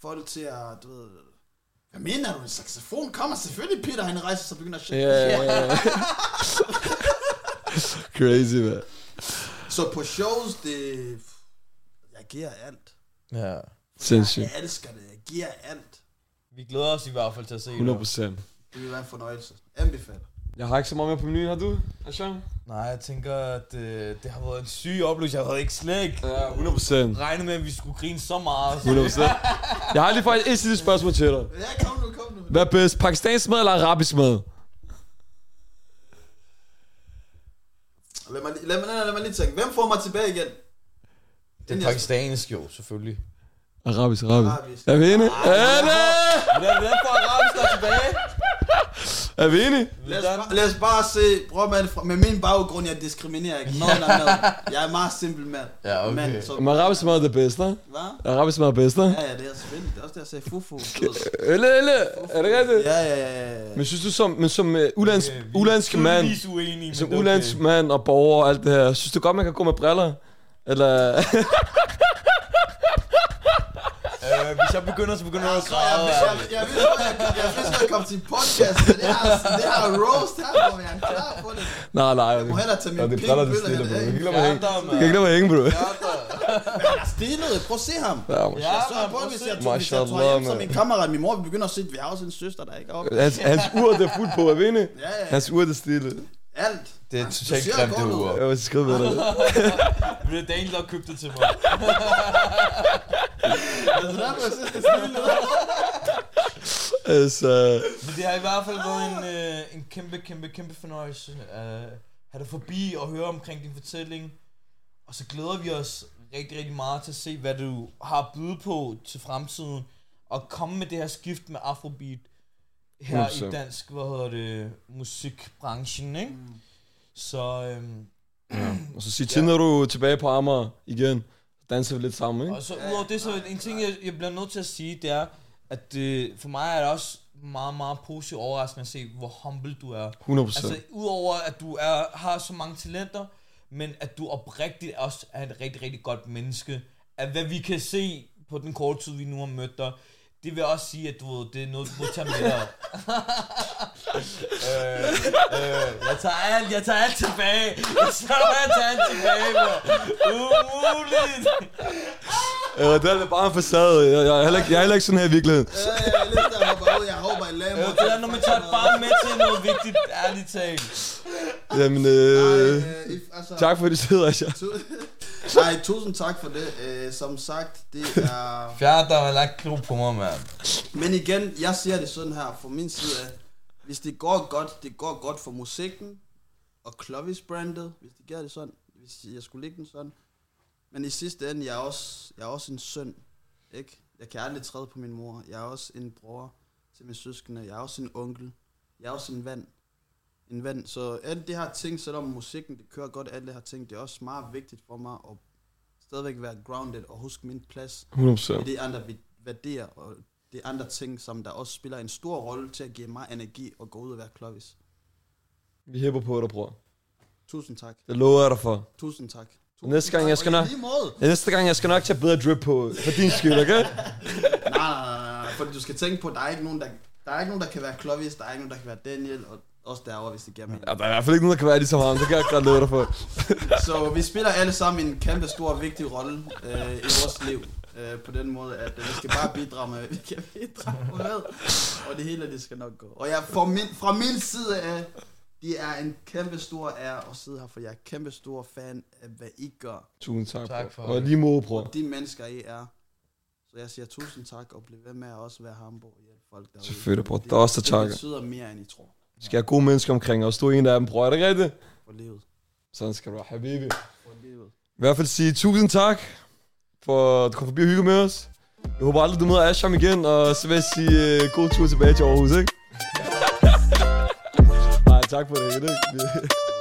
Speaker 4: Folk til at... Du ved, hvad mener du? En saxofon kommer selvfølgelig, Peter, han rejser sig og begynder at shake.
Speaker 2: Ja, ja, ja. Crazy, man.
Speaker 4: Så på shows, det... Jeg giver alt.
Speaker 3: Ja.
Speaker 2: Sindssygt.
Speaker 4: Jeg elsker det. Jeg giver alt.
Speaker 3: Vi glæder os i hvert fald til at se
Speaker 2: 100
Speaker 3: dig.
Speaker 2: procent.
Speaker 4: Det vil være en fornøjelse. Anbefaler.
Speaker 2: Jeg har ikke så meget mere på menuen, har du, Ashan?
Speaker 3: Nej, jeg tænker, at øh, det har været en syg oplevelse. Jeg havde ikke slet ikke
Speaker 2: Ja, 100 procent.
Speaker 3: regnet med, at vi skulle grine så meget.
Speaker 2: 100 procent. Jeg har lige faktisk et sidste spørgsmål til dig.
Speaker 4: Ja, kom nu, kom nu.
Speaker 2: Hvad er bedst, pakistansk mad eller arabisk mad?
Speaker 4: Lad mig, lige- lad, mig, lad, mig, lad mig lige tænke. Hvem får mig tilbage igen?
Speaker 3: Det er pakistansk jo, selvfølgelig.
Speaker 2: Arabisk, arabisk.
Speaker 4: Arabisk.
Speaker 2: Er vi enige? Er det?
Speaker 3: Men er det den for arabisk, der er tilbage?
Speaker 2: Er vi enige?
Speaker 4: Lad os, bare, lad os bare se, bror mand, fra- med min baggrund, jeg diskriminerer ikke nogen af mad. Jeg er meget simpel mand.
Speaker 3: Ja, okay.
Speaker 4: Mand, så,
Speaker 2: Men arabisk mad er det bedste, hva'?
Speaker 4: hvad?
Speaker 2: Arabisk mad er bedst, hva'?
Speaker 4: Ja, ja, det er selvfølgelig. Det er også det, jeg sagde. Fufu. sød.
Speaker 2: Ølle, ølle. Er det rigtigt?
Speaker 4: Ja, ja, ja, ja.
Speaker 2: Men synes du som, men som uh, ulands,
Speaker 3: Øh, vi er
Speaker 2: ulandsk mand,
Speaker 3: tydeligvis uenige, men
Speaker 2: som
Speaker 3: det er
Speaker 2: ulandsk
Speaker 3: okay.
Speaker 2: mand og borger og alt det her, synes du godt, man kan gå med briller? Eller...
Speaker 3: Øh, hvis jeg begynder, så begynder jeg at
Speaker 4: Jeg,
Speaker 3: græde.
Speaker 4: jeg, jeg, jeg vidste, at jeg, jeg, vidste, at jeg kom til podcast, men det her, det her roast her, hvor jeg er klar på det.
Speaker 2: nej, nej.
Speaker 4: Jeg må hellere tage
Speaker 2: Nå,
Speaker 4: mine
Speaker 2: det er
Speaker 4: penge
Speaker 2: briller, det
Speaker 4: bøller
Speaker 2: stiller, bro. Du kan
Speaker 4: her.
Speaker 2: ikke lade mig
Speaker 3: Ja,
Speaker 2: hænge.
Speaker 3: der,
Speaker 2: Du kan ikke lade mig hænge, bro.
Speaker 4: Stilet, prøv at se ham.
Speaker 2: Ja, man.
Speaker 3: Ja,
Speaker 4: Jeg
Speaker 3: man,
Speaker 4: sørger på, hvis jeg,
Speaker 2: se.
Speaker 4: hvis jeg
Speaker 2: Mashallah,
Speaker 4: tror hjem som
Speaker 2: mand.
Speaker 4: min kammerat, min mor vi begynder at se, at vi har også en søster, der ikke er oppe.
Speaker 2: Hans, hans ur, det er fuldt på, er vi enige?
Speaker 4: Ja, ja,
Speaker 2: Hans ur, det er stille.
Speaker 4: alt.
Speaker 3: det er
Speaker 4: Du
Speaker 3: totalt
Speaker 4: ser
Speaker 3: grimt, det
Speaker 4: godt ud.
Speaker 3: ur.
Speaker 2: Jeg var skrevet med det.
Speaker 3: Men det er Daniel, der købte det til mig.
Speaker 4: Altså, der er præcis det stilet.
Speaker 2: Altså,
Speaker 3: Men det har i hvert fald været en, øh, en kæmpe, kæmpe, kæmpe fornøjelse øh, at have dig forbi og høre omkring din fortælling. Og så glæder vi os rigtig, rigtig meget til at se, hvad du har at byde på til fremtiden. Og komme med det her skift med Afrobeat her
Speaker 2: 100%.
Speaker 3: i dansk, hvad hedder det, musikbranchen, ikke?
Speaker 4: Mm.
Speaker 3: Så øhm,
Speaker 2: og så siger Tinder, du er tilbage på Amager igen. Danser vi lidt sammen, ikke?
Speaker 3: Og så udover det, så en ting, jeg, jeg bliver nødt til at sige, det er, at øh, for mig er det også meget, meget positivt overraskende at se, hvor humble du er.
Speaker 2: 100
Speaker 3: Altså, udover at du er, har så mange talenter, men at du oprigtigt også er et rigtig, rigtig godt menneske. At hvad vi kan se på den korte tid, vi nu har mødt dig, det vil også sige, at du ved, det er noget, du må tage med dig. øh, øh, jeg tager alt, jeg tager alt tilbage. Jeg tager alt, tager alt tilbage, bro. Umuligt.
Speaker 2: Øh, det er bare en facade. Jeg, jeg, er heller ikke, jeg er heller ikke sådan her i virkeligheden.
Speaker 4: Ja, ja, jeg er lidt der hopper ud. Jeg håber, jeg lader
Speaker 3: Øh, det er, når man tager et barn med til noget vigtigt, ærligt talt.
Speaker 2: Jamen, øh,
Speaker 4: Tak.
Speaker 2: tak for, at du sidder, Asha.
Speaker 4: altså, Nej, tusind tak for det. Øh, Som sagt, det er...
Speaker 3: Fjerde, der har lagt klo på mig, mand.
Speaker 4: Men igen, jeg ser det sådan her fra min side af. Hvis det går godt, det går godt for musikken og Clovis brandet, hvis det gør det sådan, hvis jeg skulle ligge den sådan. Men i sidste ende, jeg er også, jeg er også en søn, ikke? Jeg kan aldrig træde på min mor. Jeg er også en bror til mine søskende. Jeg er også en onkel. Jeg er også en ven. En ven. Så alle de her ting, selvom musikken det kører godt, alle de her ting, det er også meget vigtigt for mig at stadigvæk være grounded og huske min plads
Speaker 2: 100
Speaker 4: det er andre vi- værdier, og det er andre ting, som der også spiller en stor rolle til at give mig energi og gå ud og være klovis.
Speaker 2: Vi hæpper på dig, bror.
Speaker 4: Tusind tak.
Speaker 2: Det lover jeg dig for.
Speaker 4: Tusind tak. Tusind
Speaker 2: Næste gang,
Speaker 4: tak.
Speaker 2: jeg skal
Speaker 4: Og i
Speaker 2: nok-
Speaker 4: lige måde.
Speaker 2: Ja, Næste gang, jeg skal nok tage bedre drip på, for din skyld, okay?
Speaker 4: Nej, nej, nej, nej, fordi du skal tænke på, at der er ikke nogen, der, der, er ikke nogen, der kan være klovis, der er ikke nogen, der kan være Daniel, og også derovre, hvis det giver mening.
Speaker 2: Ja, der er i hvert fald ikke nogen, der kan være ligesom ham. Det kan jeg godt love dig for.
Speaker 4: Så vi spiller alle sammen en kæmpe stor og vigtig rolle øh, i vores liv. Øh, på den måde, at øh, vi skal bare bidrage med, hvad vi kan bidrage med. Og det hele, det skal nok gå. Og jeg, fra, min, fra min side af, det er en kæmpe stor ære at sidde her, for jeg er kæmpe stor fan af, hvad I gør.
Speaker 2: Tusind tak,
Speaker 3: Tak
Speaker 2: bror.
Speaker 3: for
Speaker 2: Og
Speaker 3: det.
Speaker 2: lige måde, bror.
Speaker 4: Og de mennesker, I er. Så jeg siger tusind tak, og bliv ved med at også være Hamburg og hjælpe folk derude.
Speaker 2: Selvfølgelig, bror.
Speaker 4: Det-
Speaker 2: Der er også, der
Speaker 4: Det
Speaker 2: takker.
Speaker 4: betyder mere, end I tror
Speaker 2: Vi Skal jeg have gode mennesker omkring os. Du er en af dem, bror. Er det rigtigt?
Speaker 4: for livet.
Speaker 2: Sådan skal du være, habibi.
Speaker 4: For livet.
Speaker 2: I hvert fald sige tusind tak, for at du kom forbi og hygge med os. Jeg håber aldrig, du møder Asham igen, og så vil jeg sige øh, god tur tilbage til Aarhus, ikke? Nej, tak for det. ikke?